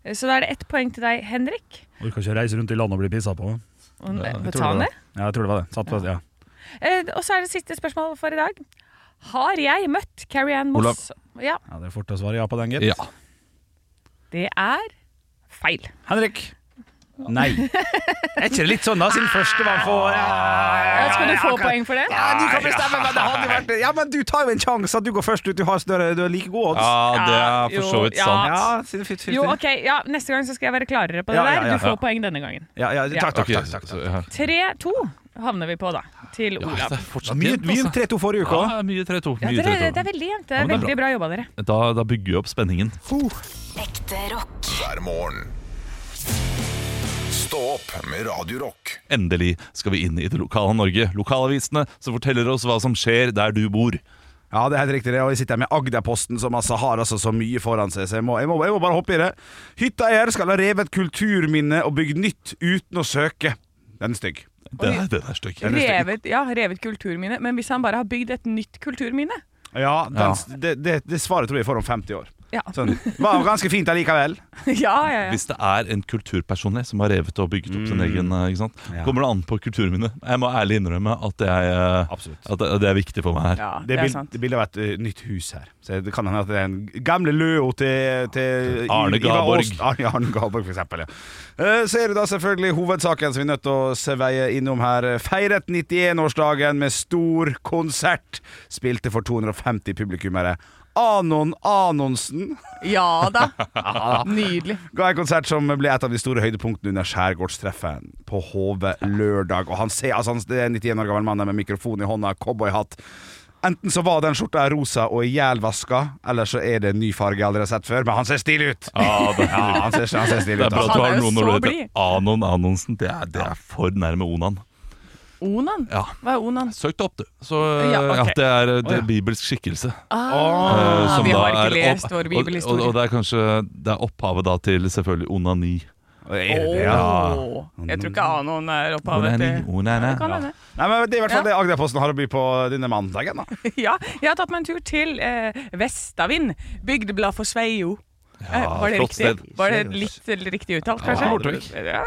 S4: Så da er det ett poeng til deg, Henrik.
S2: Orker ikke å reise rundt i landet og bli pissa på.
S4: Og,
S2: Jeg tror
S4: ta
S2: det var
S4: han det.
S2: det. Ja, jeg tror det var det. Satt på, ja.
S4: Eh, og så er det siste spørsmål for i dag. Har jeg møtt Carrie Ann
S3: Olav.
S4: Moss? Ja,
S2: ja, Det er fort å svare ja på den, gitt.
S3: Ja.
S4: det er feil.
S2: Henrik. Nei. Er ikke det litt sånn, da, siden første var for
S4: Ja, skal du få
S2: ja,
S4: poeng for det?
S2: Ja, du kan bestemme, men det hadde jo vært Ja, men du tar jo en sjanse at du går først ut, du har større Du er like god odds.
S3: ja, det er for så vidt
S4: Ja, jo,
S3: sant.
S4: ja.
S2: Ja, siden fifty-fifty.
S4: Jo, ok, ja, Neste gang så skal jeg være klarere på det
S2: Ja, ja,
S4: der.
S2: ja,
S4: Du får
S3: ja.
S4: poeng denne gangen.
S2: ja, ja, takk, takk,
S3: Ok,
S2: takk, takk,
S3: så-
S2: takk.
S3: ja.
S4: 3-2 havner vi på, da. Til
S3: Ja,
S4: Olav.
S3: det er fortsatt
S2: Mye,
S3: jevnt,
S2: mye
S3: altså.
S2: 3-2 forrige uke òg.
S3: Ja, mye 3-2.
S4: Ja,
S3: mye
S4: dere, det
S3: 3-2.
S4: er veldig jevnt. Det er
S3: men det er
S4: veldig bra jobba, dere.
S3: Da, da bygger vi opp spenningen.
S5: Ekte rock.
S1: hver morgen. Stå opp med Radio Rock.
S3: Endelig skal vi inn i det lokale Norge. Lokalavisene som forteller oss hva som skjer der du bor.
S2: Ja, det er helt riktig. det Og jeg sitter her med Agderposten, som altså har altså så mye foran seg. Så jeg må, jeg må, jeg må bare hoppe i det. Hytteeier skal ha revet kulturminne og bygd nytt uten å søke. Den er stygg.
S3: Den er, den er stygg.
S2: er det stygt.
S4: Revet, ja, revet kulturminne. Men hvis han bare har bygd et nytt kulturminne
S2: Ja, den,
S3: Ja.
S2: Det, det, det svaret tror jeg får om 50 år.
S4: Ja.
S2: Sånn. Var ganske fint allikevel.
S4: ja, ja, Mm. ja.
S3: Hvis det er en kulturpersonlighet som har revet og bygget opp sin egen eh, ikke sant?
S2: Ja.
S3: Kommer det an på kulturminnet? Jeg må ærlig innrømme at, jeg, eh,
S2: Absolutt.
S3: at det, det er viktig for meg her.
S4: ja
S2: Det
S4: det
S2: er
S4: er
S2: bil-
S4: sant.
S2: det bilde av et eh, nytt hus her. Så det kan hende at det er en gamle løa til, til
S3: Arne
S2: Ivar
S3: Garborg.
S2: Aas- Arne, Arne Garborg, for eksempel. Ja. Eh, Så er det da selvfølgelig hovedsaken som vi er nødt til å sveie innom her. Feiret 91-årsdagen med stor konsert. Spilte for 250 publikummere. Anon Anonsen
S4: Ja da. Nydelig.
S2: ga en konsert som ble et av de store høydepunktene under skjærgårdstreffet på HV lørdag. Og han ser, altså han, det er en 91 år gammel mann der med mikrofon i hånda, cowboyhatt. Enten så var den skjorta rosa og ihjelvaska, eller så er det en ny farge jeg aldri har sett før. Men han ser stilig ut!
S3: Ja, det,
S2: Ja, han ser, han ser
S3: det
S2: stilig
S3: er
S2: ut.
S3: bra at
S2: Altså.
S3: du
S4: Han
S3: har
S4: er jo
S3: noen når
S4: så
S3: du heter
S4: blid.
S3: Anon Anonsen. Det er, det er for nærme Onan.
S4: Onan?
S3: Ja.
S4: Hva er onan?
S3: Søk det opp, du. Så eh,
S4: Ja, ok.
S3: at det er, det
S2: Å, ja.
S3: er bibelsk skikkelse.
S4: Ah,
S3: eh, som
S4: vi
S3: da
S4: har ikke
S3: er
S4: lest
S3: opp-
S4: vår
S3: Og,
S4: bibelhistorie.
S3: og, og det er kanskje det er opphavet da til selvfølgelig onani.
S2: Er det det, ja?
S4: Åh. Jeg tror ikke Anon er opphavet
S3: Onani,
S4: til
S3: onana.
S4: Det kan hende.
S2: Nei, men Det er i hvert fall det Agderposten har å by på denne mandagen. da
S4: Ja, jeg har tatt meg en tur til eh, Vestavind, bygdeblad for Sveio. Eh, var, det
S3: flott
S4: riktig?
S3: sted.
S4: var det litt eh, riktig uttalt, kanskje?
S3: Bortevekk.
S4: Ja,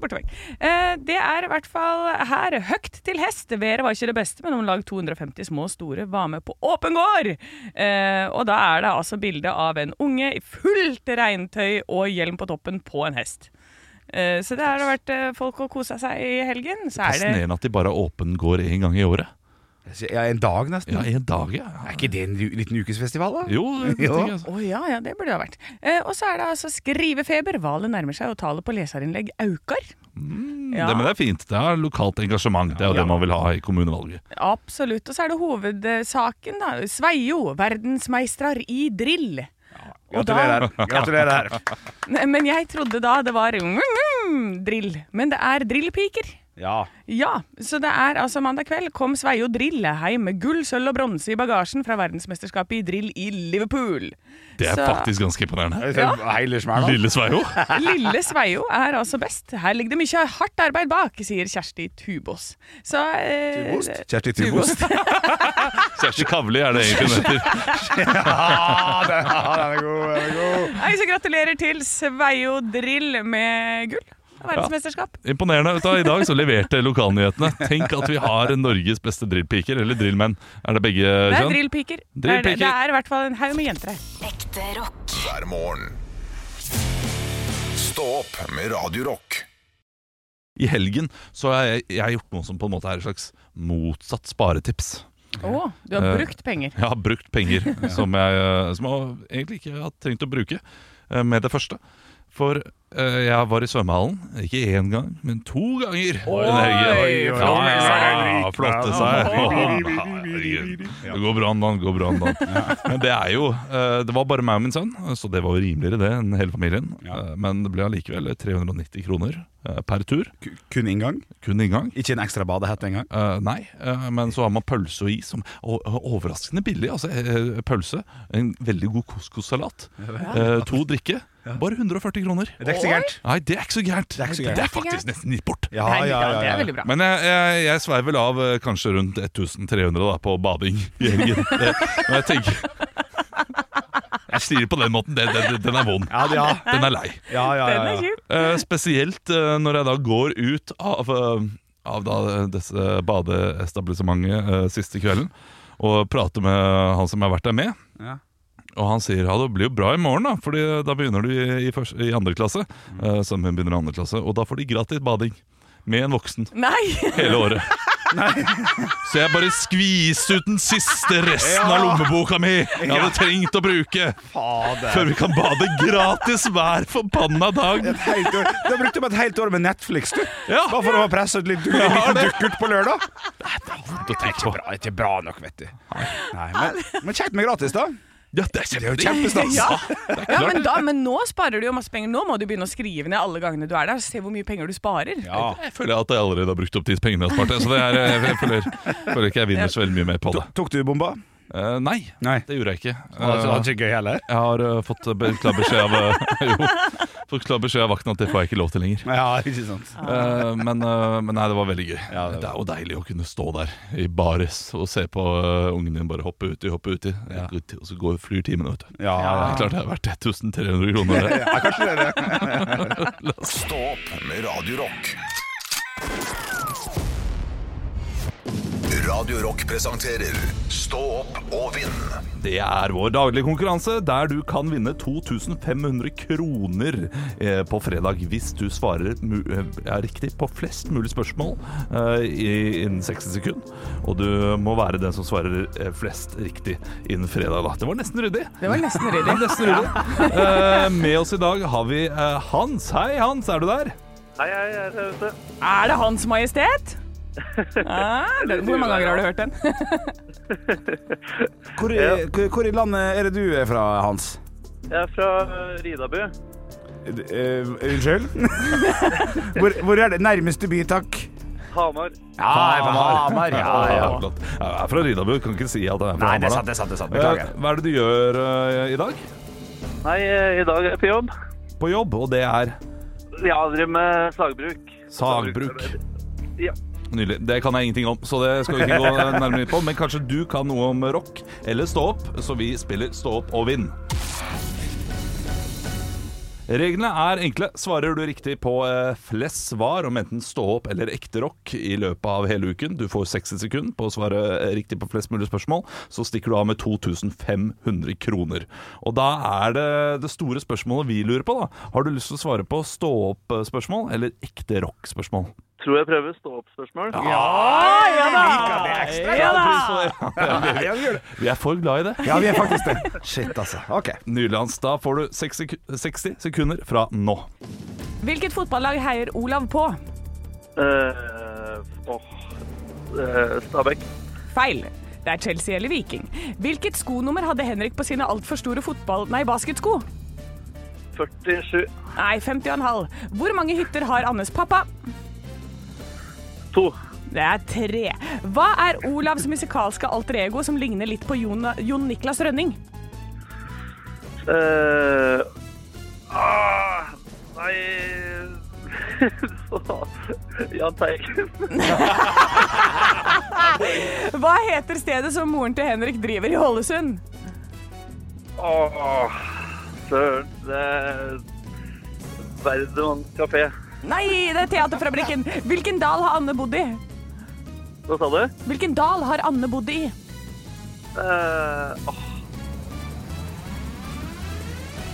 S4: bortevekk. Eh, det er i hvert fall her høgt til hest. Været var ikke det beste, men om lag 250 små og store var med på åpen gård. Eh, og da er det altså bilde av en unge i fullt regntøy og hjelm på toppen på en hest. Eh, så det har vært eh, folk å kose seg i helgen. Så er det
S3: Fascinerende at de bare har åpen gård én gang i året.
S2: Ja, En dag, nesten.
S3: Ja, én dag, ja.
S2: Er ikke det en u- liten ukesfestival, da?
S3: Jo, det
S2: Jo.
S3: tenker jeg altså.
S4: Å ja, ja, det burde det ha vært. Eh, og så er det altså skrivefeber. Valet nærmer seg, og tallet på leserinnlegg aukar. ja,
S3: Mm, Det, men det er fint. Det er lokalt engasjement. Det er jo det man vil ha i kommunevalget.
S4: absolutt. Og så er det hovedsaken, da. Sveio, verdensmeistrar i drill. Og da-
S2: Gratulerer. Gratulerer.
S4: Nei, Men jeg trodde da det var mm, drill. Men det er drillpiker.
S2: Ja.
S4: Ja, så det er altså mandag kveld kom Sveio Drilleheim med gull, sølv og bronse i bagasjen fra verdensmesterskapet i drill i Liverpool.
S3: Det er
S4: Så-
S3: faktisk ganske imponerende.
S2: Ja. Hele smellen.
S3: Lille Sveio.
S4: Lille Sveio er altså best. Her ligger det mye hardt arbeid bak, sier Kjersti Tubås. Så eh,
S2: Tubost? Kjersti Tubost.
S3: Kjersti Kavli er det egentlig hun heter.
S2: Ja, den, ja, den er god. Den er god.
S4: Nei, så gratulerer til Sveio Drill med gull. Verdensmesterskap.
S3: Imponerende. Vet du, hva, I dag så leverte lokalnyhetene. Tenk at vi har Norges beste drillpiker, eller drillmenn. Er det begge
S4: Det er
S3: kjønn?
S4: drillpiker. Det er,
S3: Drillpiker.
S4: det er i hvert fall en haug med jenter her.
S5: Ekte rock.
S1: hver morgen. Stå opp med Radio Rock.
S3: I helgen så har jeg, jeg har gjort noe som på en måte er et slags motsatt sparetips.
S4: Å, du har
S3: Eh,
S4: brukt penger.
S3: Jeg har brukt penger som, jeg, eh, som jeg egentlig ikke har trengt å bruke eh, med det første. For eh, jeg var i svømmehallen, ikke én gang, men to ganger. denne helgen.
S4: Oi,
S3: Ja,
S4: flotte
S3: ja,
S4: seg.
S3: ja, flotte seg. Herregud. Det går bra, Dan. Går bra, Dan. Men det er jo eh, Det var bare meg og min sønn, så det var jo rimeligere det enn hele familien. Eh, Men det ble allikevel 390 kroner eh, per tur.
S2: Ku- Kun inngang?
S3: Kun inngang.
S2: Ikke en ekstra badehette engang?
S3: Eh, nei, eh, men så har man pølse og is. Som, og, og overraskende billig. Altså, eh, pølse, en veldig god couscous-salat, eh, to drikke. Bare 140 kroner.
S2: Det er ikke sikkert.
S3: Nei, det er ikke så gærent.
S2: er ikke så gærent.
S3: Det er faktisk nesten gitt bort.
S2: Ja,
S4: Nei,
S2: ja, ja,
S4: Det er
S2: ja.
S4: veldig bra.
S3: Men jeg, jeg, jeg sveiver vel av eh, kanskje rundt 1300 da, på bading i helgen. Det, men jeg tenker Jeg sier det på den måten. Den, den, den er vond.
S2: Ja, ja,
S3: Den er lei.
S2: ja, ja,
S4: Den
S2: ja,
S4: er
S2: ja.
S4: kjip.
S3: Eh, spesielt eh, når jeg da går ut av, eh, av da, disse badeestablissementet eh, siste kvelden og prater med han som jeg har vært der med.
S2: Ja.
S3: Og han sier ja, det blir jo bra i morgen, da, Fordi da begynner du i, i, først, i andre klasse.
S2: Mm.
S3: Eh, sønnen min begynner i andre klasse, og da får de gratis bading med en voksen
S4: Nei!
S3: hele året. Så jeg bare skviste ut den siste resten av lommeboka mi jeg hadde trengt å bruke
S2: Fader.
S3: før vi kan bade gratis hver forbanna dag.
S2: Et helt år. Du har brukt opp et helt år med Netflix, du.
S3: Ja.
S2: Bare for å presse ut litt du- en liten dukkert på lørdag.
S3: Det er ikke bra.
S2: Bra, ikke bra nok, vet du. Nei, men, men kjekt med gratis, da.
S3: Ja, det er
S2: Det er jo
S3: kjempe...
S2: kjempestas.
S4: Ja. Ja, men, da, men nå sparer du jo masse penger. Nå må du begynne å skrive ned alle gangene du er der. Se hvor mye penger du sparer.
S2: Ja.
S3: Jeg føler at jeg allerede har brukt opp de pengene jeg har spart. jeg, Så det er, eh, jeg jeg føler, føler ikke jeg vinner så veldig mye mer på det.
S2: Tok du bomba?
S3: Eh, nei,
S2: Nei.
S3: det gjorde jeg ikke.
S2: Det var
S3: Eh,
S2: ikke gøy heller.
S3: jeg har eh, fått be- klar beskjed av eh, Jo, Får klar beskjed av vakten at det får jeg ikke lov til lenger.
S2: Ja, ikke sant.
S3: Eh, men, eh, men nei, det var veldig gøy.
S2: Ja,
S3: det,
S2: det var-
S3: er jo deilig å kunne stå der i baris og se på eh, ungen din bare hoppe uti, hoppe uti.
S2: Ja.
S3: Ut, Og så går flyr timene, vet du.
S2: Ja,
S3: Det er klart det er verdt 1300 kroner. Det.
S1: Stå opp med Radio Rock. Radio Rock presenterer Stå opp og vinn.
S3: det er vår daglige konkurranse, der du kan vinne 2500 kroner eh, på fredag hvis du svarer mu eh, ja, riktig på flest mulig spørsmål eh, i- innen 60 sekunder. Og du må være den som svarer eh, flest riktig innen fredag. Da. Det var nesten ryddig.
S4: Det var nesten
S3: Det
S4: ryddig.
S3: er nesten ryddig. Eh, med oss i dag har vi eh, Hans. Hei, Hans, er du der?
S8: Hei, hei, jeg er her ute.
S4: Er det Hans Majestet? Ja, det, hvor mange ganger har du hørt den?
S2: Hvor, i- hvor- hvor i landet er det du er fra, Hans?
S8: Jeg er fra eh, Ridabu.
S2: Eh, unnskyld? hvor, hvor er det nærmeste by, takk?
S8: Hamar.
S2: Ja, Hamar. Ja, ja.
S3: flott. Jeg er fra Ridabu, kan ikke si at jeg er fra
S2: Nei,
S3: Hamar,
S2: det er sant,
S3: da.
S2: det er sant. det er sant.
S3: Eh,
S2: Beklager.
S3: Hva er det du gjør eh, i dag?
S8: Nei, eh, i dag er jeg på jobb.
S3: På jobb, og det er
S8: Jeg driver med sagbruk.
S3: sagbruk.
S8: Ja.
S3: Nydelig. Det kan jeg ingenting om, så det skal vi ikke gå nærmere inn på. Men kanskje du kan noe om rock eller stå opp, så vi spiller stå opp og vinn. Reglene er enkle. Svarer du riktig på eh, flest svar om enten stå opp eller ekte rock i løpet av hele uken, du får 60 sekunder på å svare eh, riktig på flest mulig spørsmål, så stikker du av med 2500 kroner. Og da er det det store spørsmålet vi lurer på, da. Har du lyst til å svare på stå opp-spørsmål eller ekte rock-spørsmål?
S8: Tror jeg prøver stå-opp-spørsmål. Ja.
S3: Ja, pris på det. Vi er for glad i det.
S2: Ja, vi er faktisk det. Shit, altså. Ok.
S3: Nydelig, Hans. Da får du 60 sek- 60 sekunder fra nå.
S4: Hvilket fotballag heier Olav på?
S8: åh. Eh, Stabæk.
S4: Feil. Det er Chelsea eller Viking. Hvilket skonummer hadde Henrik på sine altfor store fotball... Nei, basketsko?
S8: 47.
S4: Nei, 50,5. Hvor mange hytter har Annes pappa?
S8: 2.
S4: Det er tre. Hva er Olavs musikalske alter ego som ligner litt på Jon, Jon Niklas Rønning?
S8: Eh, ah, nei... Jan Teigen.
S4: Hva heter stedet som moren til Henrik driver i Ålesund?
S8: Åh, søren. Det er Verdens kafé.
S4: Nei, det er Teaterfabrikken. Hvilken dal har Anne bodd i?
S8: Hva sa du?
S4: Hvilken dal har Anne bodd i?
S8: Eh, åh.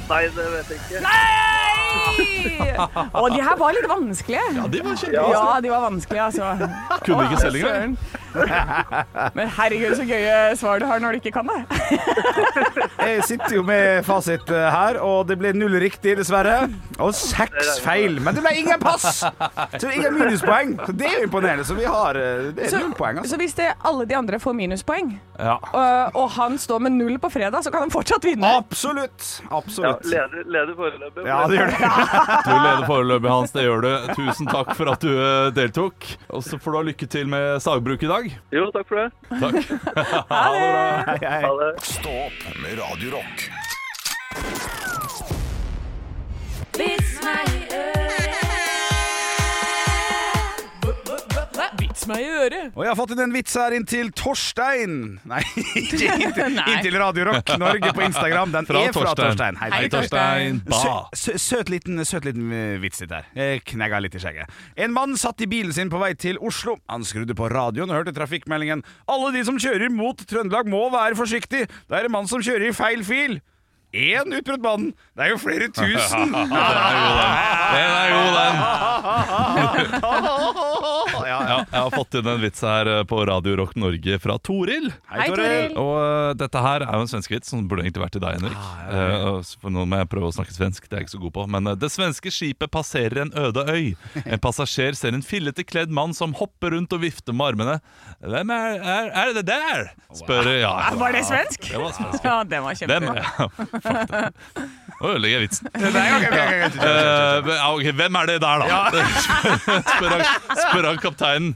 S8: Nei, det vet jeg ikke.
S4: Nei! Og de her var litt vanskelige. Ja,
S3: Det var kjempe...
S4: Ja, de var vanskelige, altså.
S3: Kunne ikke
S4: Å,
S3: selv engang.
S4: søren. Men herregud, så gøye svar du har når du ikke kan det.
S2: Jeg sitter jo med fasit eh, her, og det ble null riktig, dessverre. Og seks feil. Men det ble ingen pass! Så det er ingen minuspoeng. Så det er jo imponerende. Så vi har eh, Det er
S4: Så,
S2: null poeng, altså.
S4: så hvis det, alle de andre får minuspoeng,
S3: Ja.
S4: og, og han står med null på fredag, så kan han fortsatt vinne.
S2: Absolutt.
S8: Ja,
S2: Absolutt.
S8: leder, leder foreløpig.
S2: Ja, det gjør det.
S3: Du leder foreløpig, Hans. Det gjør du. Tusen takk for at du eh, deltok. Og så får du ha lykke til med sagbruk i dag.
S8: Jo, takk for det.
S3: Takk.
S4: Ha det!
S8: Ha det.
S1: Stå opp med Radio Rock.
S5: Vits meg i øret.
S4: Vits meg i øret.
S2: Og jeg har fått inn en vits her inn til Torstein. Nei, ikke inn til,
S4: Nei.
S2: inn til Radio Rock Norge på Instagram. Den
S3: Fra
S2: er fra
S3: Torstein.
S2: Torstein. Hei,
S3: Hei, Torstein. Ba.
S2: Sø, sø, søt liten, søt liten eh, vits litt der. Jeg knegga litt i skjegget. En mann satt i bilen sin på vei til Oslo. Han skrudde på radioen og hørte trafikkmeldingen. Alle de som kjører mot Trøndelag må være forsiktig. Det er en mann som kjører i feil fil. Én utbrutt mannen. Det er jo flere tusen.
S3: Den er god, den.
S2: ja,
S3: Ja, jeg har fått inn en vits her eh, på Radio Rock Norge fra Toril.
S4: Hei, Toril.
S3: Og eh, dette her er jo en svensk vits som burde egentlig vært til deg, Henrik. Eh, og s- for nå må jeg prøve å snakke svensk, det er jeg ikke så god på. Men eh, det svenske skipet passerer en øde øy. En passasjer ser en fillete kledd mann som hopper rundt og vifter med armene. Hvem er, er, er det der? spør ja.
S4: Var det svensk?
S3: Det var svensk.
S4: Ja, den var
S3: Hvem
S4: kjempebra.
S3: ja, fuck det. Nå ødelegger jeg vitsen.
S2: Nei, ok, ok, ok, ok.
S3: Eh, men, ja, ok, hvem er det der, da? spør, han, spør han kapteinen.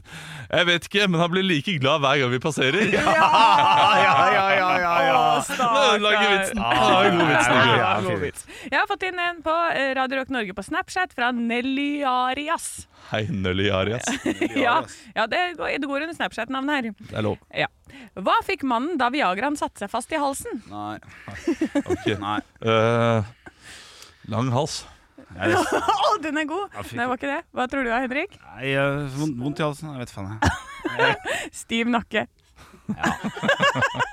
S3: Jeg vet ikke, men han blir like glad hver gang vi passerer.
S2: Ja, ja, ja, ja, ja, ja.
S4: Å,
S3: Nå
S4: stakkar.
S3: lager vitsen. Ja, det er en god vits, Norge.
S2: Ah, Ja, fin vits.
S4: Jeg har fått inn en på eh, Radio Rock Norge på Snapchat fra Nelly Arias.
S3: Hei, Nelly Arias.
S4: Ja, ja det, går, det går under Snapchat-navnet her.
S3: Det er lov.
S4: Ja. Hva fikk mannen da Viagraen satte seg fast i halsen?
S2: Nei.
S3: Ok.
S2: Nei.
S3: Eh, lang hals.
S2: Jeg vet-
S4: Å, den er god!
S2: fy
S4: Nei, var ikke det. Hva tror du, Henrik?
S2: Nei, jeg har vond- vondt i halsen. Jeg vet faen, jeg.
S4: Stiv nakke.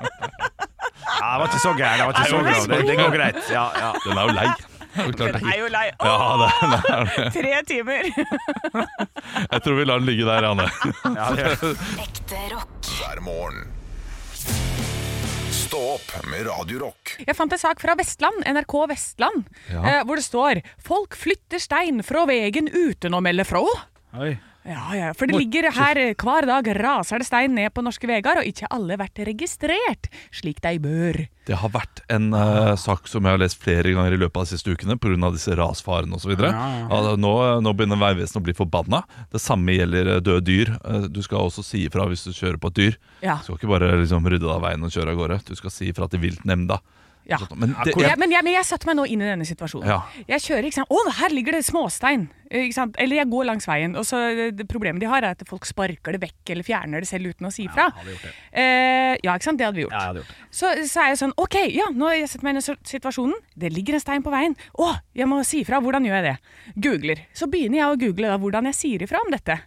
S2: Ja, det var ikke så gæren. Det, var ikke så
S3: Nei,
S2: gæren. det, det går greit. Ja, ja.
S3: Den er jo lei. Det er jo klart det er
S4: Den er
S3: ikke-
S4: jo lei. Å,
S3: Ja, det, det er det.
S4: tre timer!
S3: Jeg tror vi lar den ligge der, Anne.
S2: Ja, det gjør det.
S5: Ekte rock.
S1: hver morgen. Stå opp med Radio Rock.
S4: Jeg fant en sak fra Vestland, NRK Vestland, eh, hvor det står 'Folk flytter stein fra vegen uten å melde fra'.
S2: Oi.
S4: Ja, ja, for det ligger her eh, hver dag raser det stein ned på norske veger, og ikke alle vært registrert slik de bør.
S3: Det har vært en eh, sak som jeg har lest flere ganger i løpet av de siste ukene pga. disse rasfarene osv. Ja, Altså, nå, eh, nå begynner Vegvesenet å bli forbanna. Det samme gjelder eh, døde dyr. Eh, Du skal også si ifra hvis du kjører på et dyr.
S4: Ja.
S3: Du skal ikke bare liksom, rydde av veien og kjøre av gårde. Du skal si ifra til viltnemnda.
S4: Ja.
S3: Men det,
S4: Og Jeg, men, jeg, men jeg satte meg nå inn i denne situasjonen.
S3: Ja.
S4: Jeg kjører, ikke sant. Å, her ligger det småstein! Eh, Ikke sant? Eller jeg går langs veien. Og så eh, det Problemet de har, er at folk sparker det vekk eller fjerner det selv uten å si ifra. Eh, ja, ikke sant. Det hadde vi gjort.
S2: Ja, jeg hadde gjort det.
S4: Så, så er jeg sånn OK, ja, nå har jeg sett meg inn i den situasjonen. Det ligger en stein på veien. Å, jeg må si ifra. Hvordan gjør jeg det? Googler. Så begynner jeg å google da, hvordan jeg sier ifra om dette.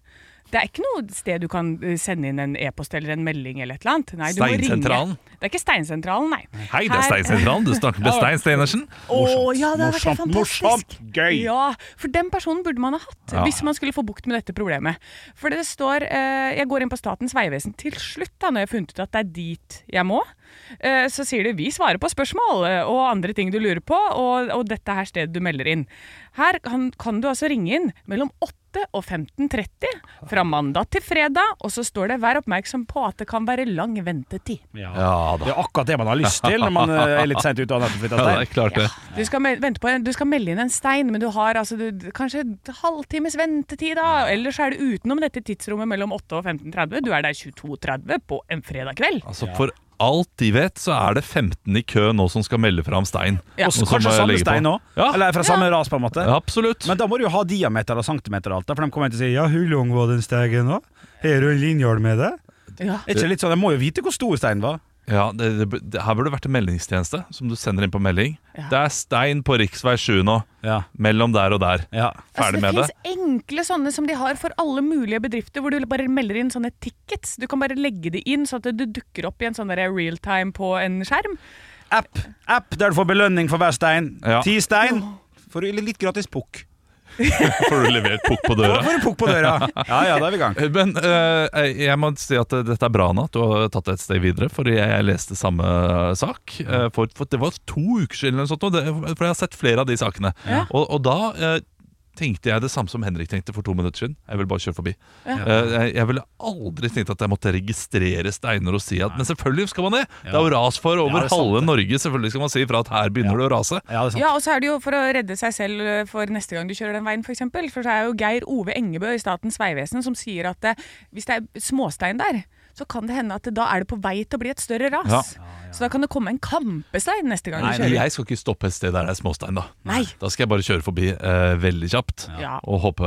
S4: Det er ikke noe sted du kan eh, sende inn en e-post eller en melding eller et eller annet. Nei, du må
S3: Steinsentralen?
S4: ringe. Det er ikke Steinsentralen, nei.
S3: Hei, det er
S4: Her-
S3: Stein Sentralen. Du snakker med Stein Steinersen.
S4: Å, ja, det har vært helt
S2: Morsomt,
S4: fantastisk.
S2: morsomt, gøy.
S4: Ja, for den personen burde man ha hatt hvis man skulle få bukt med dette problemet. For det står eh, Jeg går inn på Statens vegvesen til slutt, da, når jeg har funnet ut at det er dit jeg må. Eh, så sier de 'vi svarer på spørsmål' eh, og andre ting du lurer på, og, og dette er stedet du melder inn. Her kan, kan du altså ringe inn mellom 8 og 15.30 fra mandag til fredag, og så står det 'vær oppmerksom på at det kan være lang ventetid'.
S3: Ja da.
S2: Det er akkurat det man har lyst til når man eh, er litt seint ute. og nettopp flyttet
S3: Ja, det
S2: stein.
S3: er klart det.
S4: Du skal, mel- vente på en, du skal melde inn en stein, men du har altså, du, d- kanskje en halvtimes ventetid. da Ellers er det utenom dette tidsrommet mellom 8 og 15.30. Du er der 22.30 på en fredag kveld.
S3: Altså, For alt de vet, så er det 15 i kø nå som skal melde fra om stein. Og
S4: Ja.
S2: Og
S3: så
S2: så
S3: må
S2: kanskje
S3: jeg
S2: samme
S3: legge på.
S2: stein òg?
S3: Ja.
S2: Eller fra samme ras, på en måte?
S3: Ja, Absolutt.
S2: Men da må du jo ha diameter og centimeter og alt, da, for de kommer til å si Ja, hvor lang var den stegen da? Har du en linjal med deg?
S4: Ja.
S2: Er ikke det litt sånn, De må jo vite hvor stor steinen var.
S3: Ja, det, det, det, Her burde det vært en meldingstjeneste som du sender inn på melding.
S4: Ja.
S3: Det er stein på rv. 7 nå.
S2: Ja.
S3: Mellom der og der.
S2: ja.
S3: Ferdig med det.
S4: Altså, finnes enkle sånne som de har for alle mulige bedrifter, hvor du bare melder inn sånne tickets. Du kan bare legge det inn, sånn at det dukker opp i en sånn der real time på en skjerm.
S2: App app der du får belønning for hver stein.
S3: Ja.
S2: Ti stein får du litt gratis pukk.
S3: Får du levert pukk på
S2: Da
S3: døra.
S2: får du pukk på døra. Ja, ja, da er vi i gang.
S3: Men eh, jeg må si at dette er bra, Anna, at du har tatt det et steg videre. For jeg, jeg leste samme sak. eh, For, for det var to uker siden, eller noe sånt, og det, for jeg har sett flere av de sakene.
S4: Ja.
S3: Og, og da eh, tenkte jeg det samme som Henrik tenkte for to minutter siden. Jeg ville bare kjøre forbi. Eh, jeg, jeg ville aldri tenkt at jeg måtte registrere steiner og si at Men selvfølgelig skal man det! Det er jo ras for
S2: Ja,
S3: over
S2: det er sant,
S3: halve Norge. Selvfølgelig skal man si ifra at her begynner det å rase.
S2: Ja, det er sant.
S4: Ja, og så er det jo for å redde seg selv eh, for neste gang du kjører den veien, f.eks. For, eksempel. for så er jo Geir Ove Engebø i Statens vegvesen som sier at eh, hvis det er småstein der, så kan det hende at det, da er det på vei til å bli et større ras.
S3: Ja.
S4: Så da kan det komme en kampestein neste gang
S3: Nei,
S4: du kjører.
S3: jeg skal ikke stoppe et sted der det er småstein, da.
S4: Nei.
S3: Da skal jeg bare kjøre forbi eh, veldig kjapt
S4: Ja.
S3: og håpe,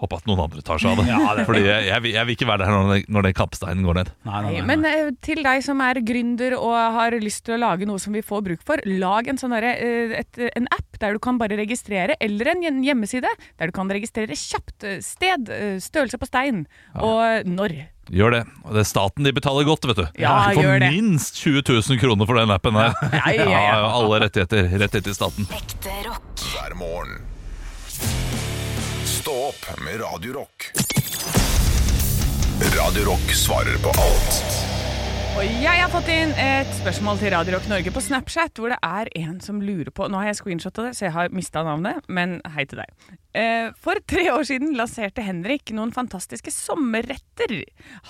S3: håpe at noen andre tar seg av det. Fordi jeg, jeg, vil- jeg vil ikke være der når den, når den kappsteinen går ned.
S2: Nei, nei,
S4: Nei,
S2: nei.
S4: Men eh, til deg som er gründer og har lyst til å lage noe som vi får bruk for, lag en, sånn derre, eh, et, en app der du kan bare registrere, eller en hjem- hjemmeside der du kan registrere kjapt eh, sted, eh, størrelse på stein og når.
S3: Gjør det. Og det er staten de betaler godt, vet du.
S4: Ja,
S3: du får
S4: gjør det.
S3: minst 20 000 kroner for den appen her.
S4: Ja, ja, ja.
S3: alle rettigheter rett etter staten.
S5: Ekte rock.
S1: hver morgen. Stå opp med Radio Rock. Radio Rock svarer på alt
S4: Og jeg har fått inn et spørsmål til Radio Rock Norge på Snapchat, hvor det er en som lurer på Nå har jeg screenshotta det, så jeg har mista navnet, men hei til deg. Eh, For tre år siden lanserte Henrik noen fantastiske sommerretter.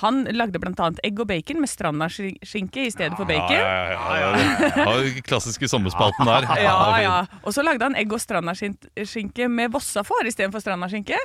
S4: Han lagde bl.a. egg og bacon med strandaskinke i stedet for bacon.
S3: Ja, den klassiske sommerspalten der.
S4: Ja, ja. Og så lagde han egg og strandaskinke med vossafår istedenfor strandaskinke.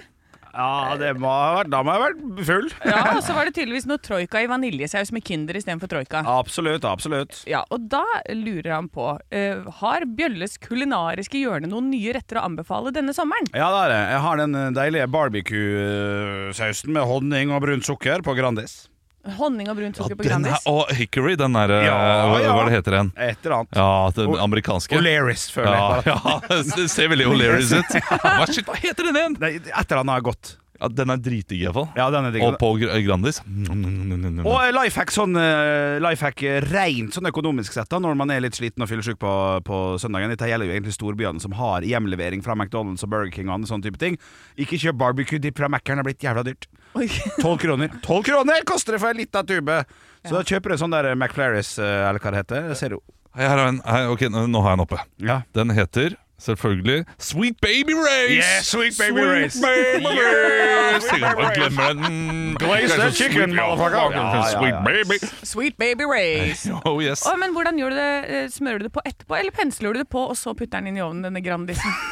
S2: Ja, det må ha vært Da må jeg ha vært full.
S4: Ja, og så var det tydeligvis noe troika i vaniljesaus med Kinder istedenfor troika.
S2: Absolutt, absolutt.
S4: Ja, og da lurer han på eh, Har Bjølles kulinariske hjørne noen nye retter å anbefale denne sommeren?
S2: Ja, det er det. Jeg har den eh, deilige barbecue-sausen med honning og brunt sukker på Grandis.
S4: Honning og brunt sukker på
S3: Den her,
S4: Grandis.
S3: og Hickory, den der eh,
S2: Ja,
S3: hva,
S2: ja.
S3: hva det heter den?
S2: Et eller annet.
S3: Ja, den amerikanske.
S2: O'Learys, føler jeg.
S3: Ja,
S2: bare.
S3: ja, det ser veldig O'Learys ut. Hva, shit, hva heter den igjen?
S2: Nei, Et eller annet er godt.
S3: Ja, den er dritdigg, iallfall.
S2: Ja, den er digg.
S3: Og på Gr- Grandis.
S2: Og life hack, sånn, eh, lifehack eh, rent sånn økonomisk sett da, når man er litt sliten og fyllesyk på, på søndagen. Dette gjelder jo egentlig storbyene som har hjemlevering fra McDonald's og Burger King og andre sånne type ting. Ikke kjøp barbecue dip fra Mækkern, det er blitt jævla dyrt.
S4: Oi.
S2: Tolv kroner. 12 kroner koster det for en lita tube! Så da kjøper du sånn der McFlairies, eh, eller hva det heter. Jeg Ser jo.
S3: Her har jeg en, her, ok, nå nå har jeg den oppe.
S2: Ja.
S3: Den heter selvfølgelig Sweet Baby Race!
S2: Yeah, Sweet Baby Race.
S3: Baby
S2: Yeah,
S3: Race. Jeg
S2: Sweet
S3: kan
S2: Baby
S3: bare glemme den.
S2: Glaze that
S3: Sweet-
S2: chicken,
S3: Ja,
S2: motherfucker.
S3: ja, Sweet
S2: Ja, ja, ja.
S3: baby
S4: Sweet baby race.
S3: Oh yes.
S4: Å, men hvordan gjør du det? Eh, Smører du det på etterpå, eller pensler du det på, og så putter den inn i ovnen, denne Grandisen?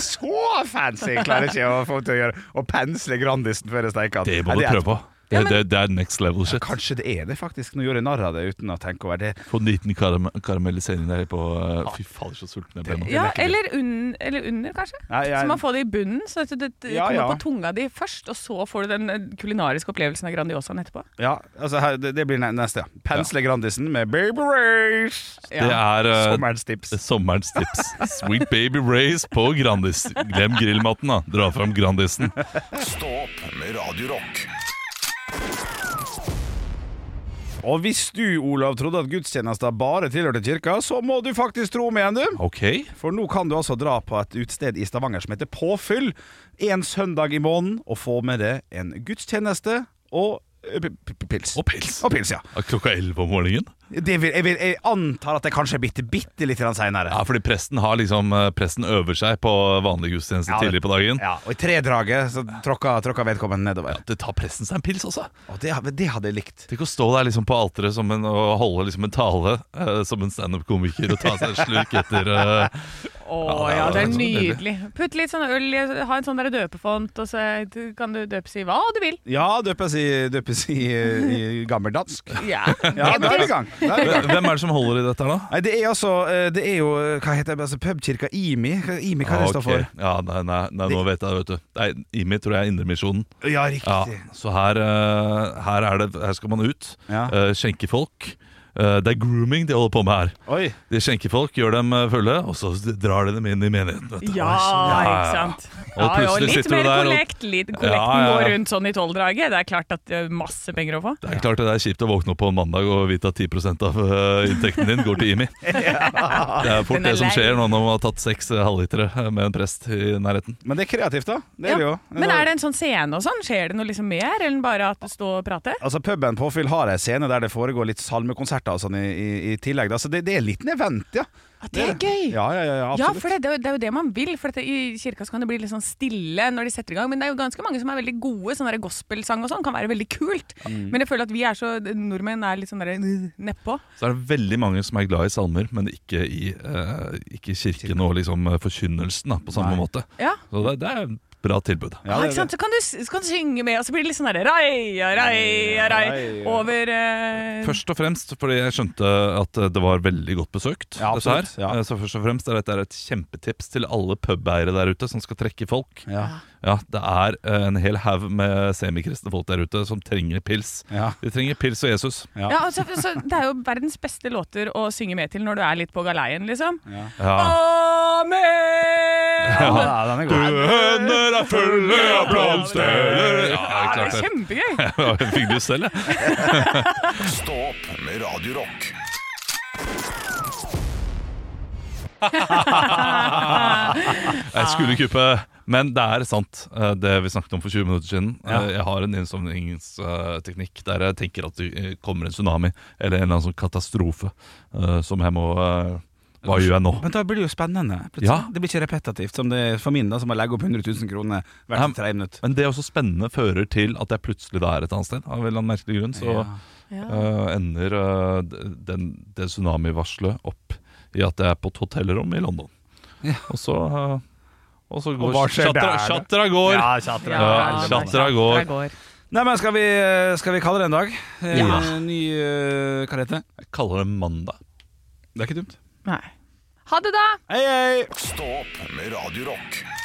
S2: Så fancy! Jeg klarer ikke å få til å gjøre Å pensle Grandisen før jeg steiker den.
S3: Det
S2: Nei,
S3: må du
S2: er-
S3: prøve på. Det,
S4: Ja, men-
S3: det, det er next level shit.
S2: Kanskje det er det, faktisk. Nå gjorde jeg narr av det uten å tenke over det.
S3: Få en liten karam karamellisering der på eh, Fy fader, så sulten jeg ble nå.
S4: Ja, eller, unn, eller under, kanskje?
S2: Nei, jeg-
S4: Så man får det i bunnen, så at det, det
S2: Ja,
S4: kommer
S2: ja.
S4: på tunga di først, og så får du den eh, kulinariske opplevelsen av Grandiosaen etterpå.
S2: Ja, altså her, det, det blir ne- neste. ja. Pensle Grandisen med Baby Race!
S4: Ja.
S3: Det er eh,
S2: Sommerens tips.
S3: sommerens tips. Sweet Baby Race på Grandis. Glem grillmatten, da. Dra fram Grandisen.
S1: Stå opp med Radio Rock.
S2: Og hvis du, Olav, trodde at gudstjenester bare tilhørte kirka, så må du faktisk tro med igjen, du.
S3: OK.
S2: For nå kan du altså dra på et utested i Stavanger som heter Påfyll en søndag i måneden og få med deg en gudstjeneste og eh, p- p- pils.
S3: Og pils.
S2: Og pils, ja.
S3: Ja, Klokka elleve om morgenen?
S2: Det vil, jeg, vil, jeg antar at det kanskje er bitte, bitte litt seinere.
S3: Ja, fordi presten har liksom eh, Presten øver seg på vanlig gudstjeneste
S2: Ja, det-
S3: tidlig på dagen.
S2: Ja, og i tredraget så tråkka, tråkka vedkommende nedover.
S3: Det tar presten seg en pils også.
S2: Og det, det hadde jeg likt.
S3: Tenk å stå der liksom på alteret som en, og holde liksom en tale eh, som en standup-komiker og ta seg en slurk etter eh,
S4: Å
S3: Ja,
S4: ja, det
S3: det
S4: er
S3: er
S4: nydelig. Putt litt sånn øl i, ha en sånn der døpefont, og så kan du døpes i hva du vil.
S2: Ja, døpes i, døpes i, i gammeldansk.
S4: Ja.
S2: Ja, da er vi i gang. Da er vi i gang.
S3: Hvem er det som holder i dette her, da?
S2: Nei, det er altså eh, Det er jo eh, Hva heter det? Altså, Pubkirka IMI? Hva- IMI, hva er det det
S3: Ah,
S2: står
S3: ok.
S2: for?
S3: Ja, nei, nei, nei, nå vet jeg det, vet du. Nei, Imi tror jeg er Indremisjonen.
S2: Ja,
S3: Ja,
S2: riktig.
S3: så her, eh, her, er det, her skal man ut,
S2: Ja.
S3: eh, skjenke folk. Eh, det er grooming de holder på med her.
S2: Oi.
S3: De skjenker folk, gjør dem eh, fulle, og så drar de dem inn i menigheten. vet du.
S4: Ja,
S3: Ja, ja, ja.
S4: ikke sant.
S3: Og
S4: Ja, ja,
S3: plutselig
S4: litt
S3: sitter du
S4: mer
S3: der og-
S4: kollekt. Litt kollekten
S3: Ja, ja, ja.
S4: går rundt sånn i tolvdraget. Det er klart at det er masse penger å få.
S3: Det er klart det er kjipt å våkne opp på en mandag og vite at 10 av eh, inntekten din går til Imi. Det er fort
S4: Den er
S3: det som
S4: lei.
S3: skjer nå når man har tatt seks eh, halvlitere med en prest i nærheten.
S2: Men det er kreativt, da. Det er det jo.
S4: Ja. Men er det en sånn scene og sånn? Skjer det noe liksom mer enn bare at du står og prater?
S2: Altså Puben Påfyll har ei scene der det foregår litt salmekonserter og sånn i, i, i tillegg. da. Så det, det er en liten event, ja.
S4: det er gøy.
S2: Ja, ja, ja, ja,
S4: Ja,
S2: absolutt.
S4: for det, det er jo- det er jo det man vil. For dette, I kirka så kan det bli litt sånn stille når de setter i gang. Men det er jo ganske mange som er veldig gode. Sånn der gospelsang og sånn kan være veldig kult.
S2: Mm.
S4: Men jeg føler at vi er så nordmenn er litt sånn der øh, nedpå.
S3: Så er det veldig mange som er glad i salmer, men ikke i eh, ikke kirken og liksom eh, forkynnelsen da, på samme
S2: Nei.
S3: måte.
S4: Ja.
S3: Så det, det er et bra tilbud.
S2: Ja,
S4: ah,
S2: det er
S4: ikke sant? Så kan, du, s- så kan du synge med, og så blir det litt sånn der Raia, raia,
S2: Raia.
S4: raia Over eh,
S3: Først og fremst fordi jeg skjønte at eh, det var veldig godt besøkt.
S2: Ja,
S3: dette her.
S2: absolutt, ja.
S3: Eh, Så først og fremst er dette et kjempetips til alle pubeiere der ute som skal trekke folk.
S2: Ja.
S3: Ja, det er eh, en hel haug med semikristne folk der ute som trenger pils.
S2: Ja.
S3: De trenger pils og Jesus.
S4: ja, altså, så Det er jo verdens beste låter å synge med til når du er litt på galeien, liksom.
S3: Ja.
S4: Amen!
S2: ja, den er god.
S3: Høner er fulle av
S4: blomster.
S3: Ja,
S4: Ja, det
S3: klart
S4: er
S3: det.
S4: kjempegøy!
S3: Jeg fikk lyst selv, jeg.
S1: Stå opp med Radio Rock.
S3: Jeg skulle kuppe, men det er sant, eh, det vi snakket om for 20 minutter siden.
S2: Ja.
S3: Eh, Jeg har en innsovningsteknikk der jeg tenker at det eh, kommer en tsunami eller en eller annen sånn katastrofe eh, som jeg må eh, Hva gjør jeg nå?
S2: Men da blir det jo spennende. plutselig.
S3: Ja.
S2: Det blir ikke repetitivt, som det er for min, da, som må legge opp 100 000 kroner hvert
S3: Hem.
S2: tredje minutt.
S3: Men det også spennende fører til at jeg plutselig da er et annet sted. Av en eller annen merkelig grunn så eh, ender eh, d- den, det tsunamivarselet opp i at jeg er på et hotellrom i London.
S2: Ja.
S3: Og så eh, Og så
S2: Og
S3: går
S2: hva skjer
S3: Chatra-
S2: der?
S3: Chatra går.
S2: Ja, tjatra.
S3: Ja, tjatra går.
S2: Nei, men skal vi, skal vi kalle det en dag? Eh,
S3: Ja.
S2: Ny eh, Hva heter det?
S3: Jeg kaller det mandag.
S2: Det er ikke dumt.
S4: Nei. Ha det, da!
S2: Hei, hei!
S1: Stå opp med Radio Rock.